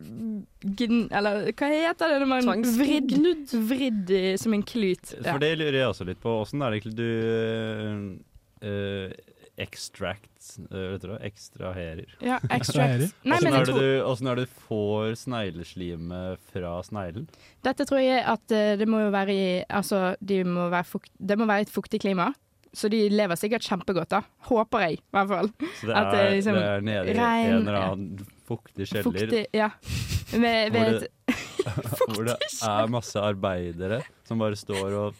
Speaker 19: Gn, eller hva heter det når man vridd, vridd i- som en klut? Ja.
Speaker 20: For det lurer jeg også litt på. Åssen er det egentlig du eh, extract eh, Hva heter det? Ekstraherer.
Speaker 19: Ja, extract. Nei,
Speaker 20: Åssen
Speaker 19: men jeg
Speaker 20: er, det
Speaker 19: tror-
Speaker 20: du- åssen er det du får snegleslimet fra sneglen?
Speaker 19: Dette tror jeg at eh, det må jo være i Altså, de må være fukt, det må være et fuktig klima. Så de lever sikkert kjempegodt, da. Håper jeg, i hvert fall.
Speaker 20: Så det
Speaker 19: At
Speaker 20: er,
Speaker 19: det er liksom
Speaker 20: det er nede i
Speaker 19: regn-
Speaker 20: en eller annen fuktig kjeller
Speaker 19: Fuktig, ja. Ved,
Speaker 20: hvor,
Speaker 19: ved et
Speaker 20: det, hvor det er masse arbeidere som bare står og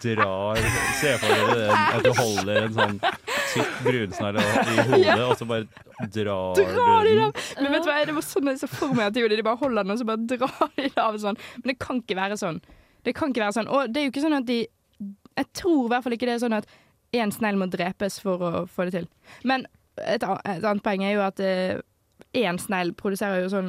Speaker 20: drar Se for dere den, at du holder en sånn tykk brunsnegle i hodet, og så bare drar
Speaker 19: Drar
Speaker 20: du
Speaker 19: de
Speaker 20: den.
Speaker 19: dem? Men vet du hva, det var sånn jeg så for meg at de gjorde det. De bare holder den, og så bare drar de det av sånn. Men det kan ikke være sånn. Det kan ikke være sånn. Og det er jo ikke sånn at de Jeg tror i hvert fall ikke det er sånn at én snegl må drepes for å få det til. Men et, an- et annet poeng er jo at eh, én snegl produserer jo sånn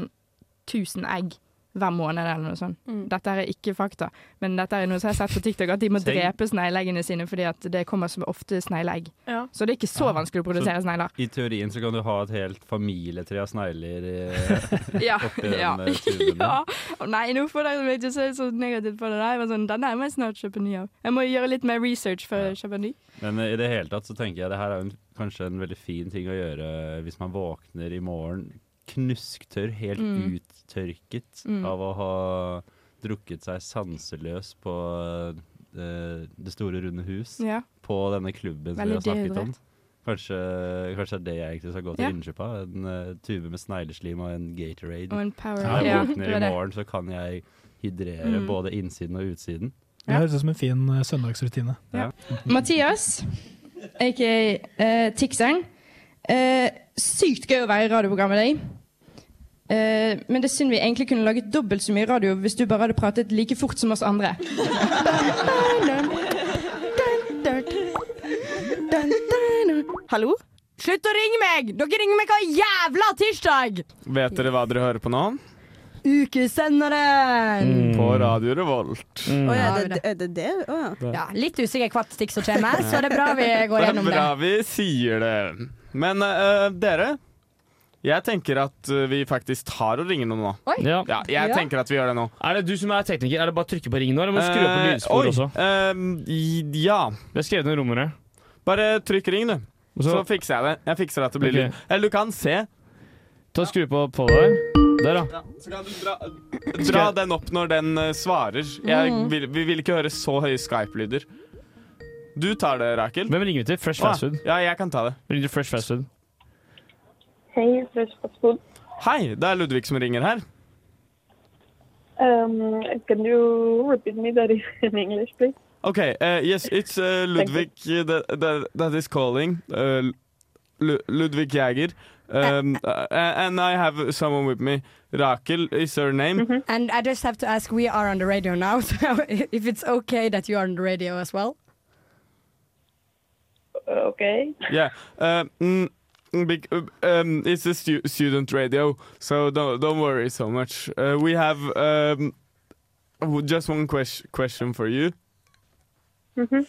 Speaker 19: 1000 egg hver måned eller noe sånt.
Speaker 14: Mm.
Speaker 19: Dette her er ikke fakta, men dette er noe som jeg har sett på TikTok, at de må
Speaker 20: Tenk-
Speaker 19: drepe snegleggene sine fordi at det kommer så ofte snegleegg. Så det er ikke så vanskelig å produsere snegler.
Speaker 20: I teorien så kan du ha et helt familietre av snegler eh,
Speaker 19: Ja.
Speaker 20: oppi den
Speaker 19: ja.
Speaker 20: eh, tuben.
Speaker 19: ja. Å nei, nå får dere meg til å se så negativt på det. der. Jeg var sånn, Den der må jeg snart kjøpe ny av. Jeg må gjøre litt mer research før jeg kjøper ny.
Speaker 20: Men eh, i det hele tatt så tenker jeg det her er jo en, kanskje en veldig fin ting å gjøre hvis man våkner i morgen knusktørr, helt
Speaker 19: Mm.
Speaker 20: uttørket
Speaker 19: Mm.
Speaker 20: av å ha drukket seg sanseløs på eh, Det store runde hus,
Speaker 19: Ja.
Speaker 20: på denne klubben som vi
Speaker 19: Veldig
Speaker 20: har snakket om.
Speaker 19: dehydrert.
Speaker 20: Kanskje, kanskje det er det jeg egentlig skal gå til
Speaker 19: Ja.
Speaker 20: innkjøp av. En eh, tube med snegleslim og en Gatorade.
Speaker 19: Og en Powerade.
Speaker 20: Når jeg
Speaker 19: Ja,
Speaker 20: våkner
Speaker 19: det
Speaker 20: i
Speaker 19: var det.
Speaker 20: morgen, så kan jeg hydrere
Speaker 32: Mm.
Speaker 20: både innsiden og utsiden.
Speaker 2: Det høres ut som en fin eh, søndagsrutine.
Speaker 16: Mathias, aka eh, Tikseren. Eh, sykt gøy å være i radioprogram med deg. Eh, men det er synd vi egentlig kunne laget dobbelt så mye radio hvis du bare hadde pratet like fort som oss andre.
Speaker 5: Hallo?
Speaker 16: Slutt å ringe meg! Dere ringer meg hver jævla tirsdag!
Speaker 21: Vet dere hva dere hører på nå?
Speaker 16: Ukesenderen!
Speaker 5: Mm.
Speaker 21: På Radio Revolt.
Speaker 23: Å ja, det, er det det? Å ja.
Speaker 16: Ja, litt usikker hva stikk som kommer, så det er bra vi går gjennom
Speaker 21: det.
Speaker 16: det.
Speaker 21: er bra vi sier det. Men eh, dere, jeg tenker at eh, vi faktisk tar og ringer noen nå.
Speaker 5: Ja.
Speaker 21: Ja, jeg tenker at vi gjør det nå.
Speaker 5: Er det du som er tekniker? Er det bare å trykke på ring nå, eller må du skru opp
Speaker 21: Eh,
Speaker 5: lydspor
Speaker 21: oi,
Speaker 5: også?
Speaker 21: eh, ja.
Speaker 5: Vi har skrevet ned rommere.
Speaker 21: Bare trykk ring, du.
Speaker 5: Og
Speaker 21: Så,
Speaker 5: så-
Speaker 21: fikser jeg det. Jeg fikser at det blir
Speaker 5: Ok.
Speaker 21: lyd. Eller du kan se.
Speaker 5: Ta og Skru på på der. Der, da.
Speaker 21: Så kan du dra, dra den opp når den eh, svarer. Jeg
Speaker 5: Mm.
Speaker 21: vil, vi vil ikke høre så høye Skype-lyder. Du tar det, Rakel.
Speaker 5: Hvem ringer vi til? Fresh
Speaker 21: Å,
Speaker 5: Fast Food?
Speaker 21: Ja, jeg kan ta det.
Speaker 5: Ringer du Fresh Fast Food?
Speaker 23: Hei, Fresh Fast Food.
Speaker 21: Hei, det er Ludvig som ringer her.
Speaker 23: Um, can you repeat me that in English, please?
Speaker 21: Okay, uh, yes, it's uh, Ludwig that, that, that is calling. Uh, Lu- Ludwig Jager. Um, uh, and I have someone with me. Rakel is her name.
Speaker 16: And I just have to ask, we are on the radio now, so if it's okay that you are on the radio as well?
Speaker 23: Okay.
Speaker 21: Yeah. Uh, mm, big, uh, um, it's a stu- student radio, so don't, don't worry so much. Uh, we have um, w- just one ques- question for you.
Speaker 23: Mhm.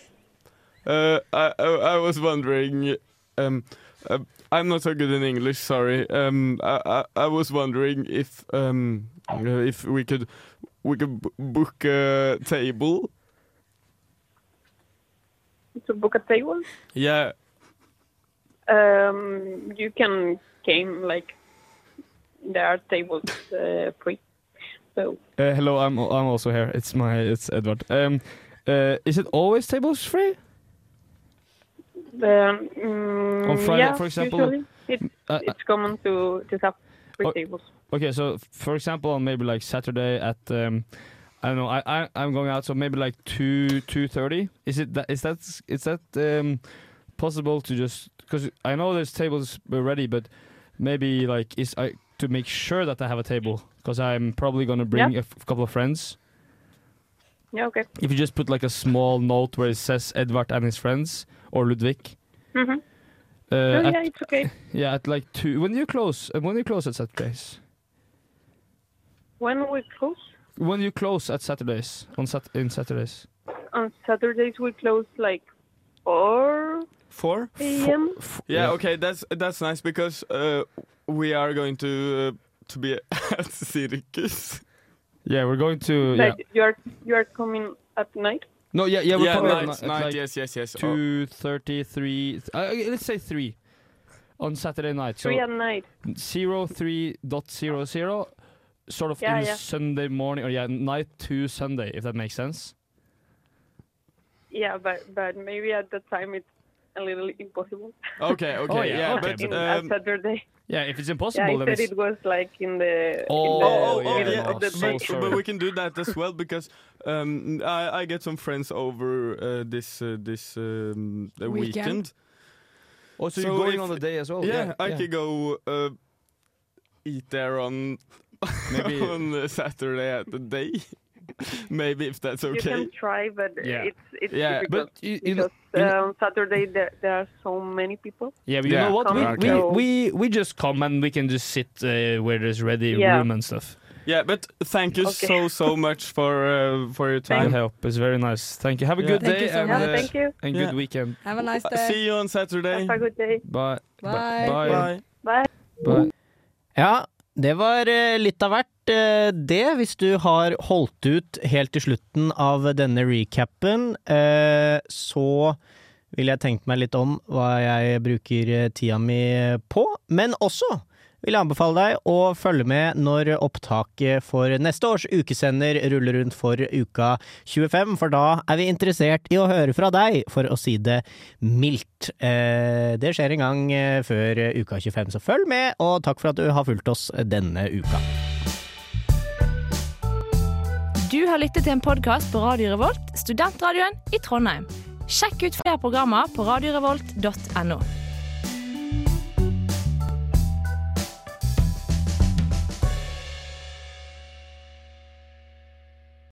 Speaker 21: Uh, I, I I was wondering. Um, uh, I'm not so good in English. Sorry. Um, I, I I was wondering if um uh, if we could we can b- book a table.
Speaker 23: to book a table.
Speaker 21: Yeah.
Speaker 23: Um, you can came like there are tables uh, free. So
Speaker 10: Uh, hello, I'm I'm also here. It's my it's Edward. Um, uh, is it always tables free?
Speaker 23: um, mm,
Speaker 10: On Friday,
Speaker 23: yeah,
Speaker 10: for example,
Speaker 23: usually it's,
Speaker 10: uh,
Speaker 23: it's common to to have free
Speaker 10: oh,
Speaker 23: tables.
Speaker 10: Okay, so f- for example, on maybe like Saturday at um, I don't know. I, I I'm going out, so maybe like two two thirty. Is it that is that is that um, possible to just because I know there's tables ready, but maybe like is I to make sure that I have a table because I'm probably gonna bring
Speaker 23: Yeah.
Speaker 10: a f- couple of friends.
Speaker 23: Yeah, okay.
Speaker 10: If you just put like a small note where it says Edvard and his friends or Ludvig.
Speaker 23: Mhm.
Speaker 10: Uh,
Speaker 23: No,
Speaker 10: at-
Speaker 23: yeah, it's okay.
Speaker 10: Yeah, at like two. When do you close? uh, When do you close at Saturdays?
Speaker 23: When we close
Speaker 10: When do you close at Saturdays on sat in Saturdays?
Speaker 23: on Saturdays, we close like four
Speaker 21: Four?
Speaker 23: a.m.
Speaker 21: Yeah, okay, that's that's nice because uh, we are going to uh, to be at circus.
Speaker 10: Yeah, we're going to. Yeah.
Speaker 23: Like you are you are coming at night.
Speaker 10: No, yeah, yeah, we're
Speaker 21: Yeah,
Speaker 10: coming
Speaker 21: night,
Speaker 10: at
Speaker 21: night,
Speaker 10: like
Speaker 21: yes, yes, yes. Oh.
Speaker 10: Two thirty, three. Uh, uh, let's say three on Saturday night.
Speaker 23: Three
Speaker 10: so
Speaker 23: at night.
Speaker 10: Zero three dot zero zero, sort of
Speaker 23: Yeah,
Speaker 10: in
Speaker 23: yeah.
Speaker 10: Sunday morning or yeah night to Sunday, if that makes sense.
Speaker 23: Yeah, but but maybe at that time it's a little impossible.
Speaker 21: Okay, okay,
Speaker 10: Oh, yeah,
Speaker 21: yeah,
Speaker 10: okay,
Speaker 21: but,
Speaker 10: but-
Speaker 23: on
Speaker 21: um,
Speaker 23: Saturday.
Speaker 10: Yeah, if it's
Speaker 23: yeah,
Speaker 10: impossible,
Speaker 23: I
Speaker 10: then
Speaker 23: said
Speaker 10: it's
Speaker 23: it was like in the. in
Speaker 10: Oh,
Speaker 23: the
Speaker 10: oh,
Speaker 21: Oh,
Speaker 10: Yeah,
Speaker 21: yeah,
Speaker 10: no,
Speaker 21: but,
Speaker 10: so
Speaker 21: but-
Speaker 10: sorry.
Speaker 21: but we can do that as well because um, I, I get some friends over uh, this uh, this um, the
Speaker 10: Weekend.
Speaker 21: weekend.
Speaker 10: Oh, so you're going on the day as well?
Speaker 21: Yeah,
Speaker 10: Yeah,
Speaker 21: I
Speaker 10: yeah.
Speaker 21: can go uh, eat there on
Speaker 10: Maybe-
Speaker 21: on the Saturday at the day. Maybe if that's
Speaker 23: You
Speaker 21: okay.
Speaker 23: can try, but
Speaker 21: Yeah.
Speaker 23: it's it's
Speaker 21: Yeah,
Speaker 23: difficult
Speaker 21: but you- you know-
Speaker 23: because uh, on Saturday there, there are so many people.
Speaker 10: Yeah, but you know what? We, we, we, we just come and we can just sit uh, where there's ready
Speaker 23: Yeah.
Speaker 10: room and stuff.
Speaker 21: Yeah, but thank you
Speaker 23: Okay.
Speaker 21: so so much for uh, for your time.
Speaker 10: Thank help. It's very nice. Thank you. Have a
Speaker 21: Yeah.
Speaker 10: good
Speaker 21: Thank
Speaker 10: day
Speaker 21: you so
Speaker 10: and,
Speaker 21: much.
Speaker 10: uh,
Speaker 21: Yeah, thank you.
Speaker 10: and
Speaker 21: Yeah.
Speaker 10: good weekend.
Speaker 33: Have a nice
Speaker 21: Uh,
Speaker 33: day.
Speaker 21: See you on Saturday.
Speaker 23: Have a good day.
Speaker 10: Bye.
Speaker 33: Bye.
Speaker 10: Bye.
Speaker 21: Bye.
Speaker 23: Bye.
Speaker 1: Ja, det var eh, litt av hvert, eh, det. Hvis du har holdt ut helt til slutten av denne recapen, eh, så ville jeg tenkt meg litt om hva jeg bruker eh, tida mi på. Men også vil jeg anbefale deg å følge med når opptaket for neste års ukesender ruller rundt for uka 25, for da er vi interessert i å høre fra deg, for å si det mildt. Eh, Det skjer en gang eh, før eh, uka 25, så følg med, og takk for at du har fulgt oss denne uka.
Speaker 19: Du har lyttet til en podkast på Radio Revolt, studentradioen i Trondheim. Sjekk ut flere programmer på radiorevolt.no.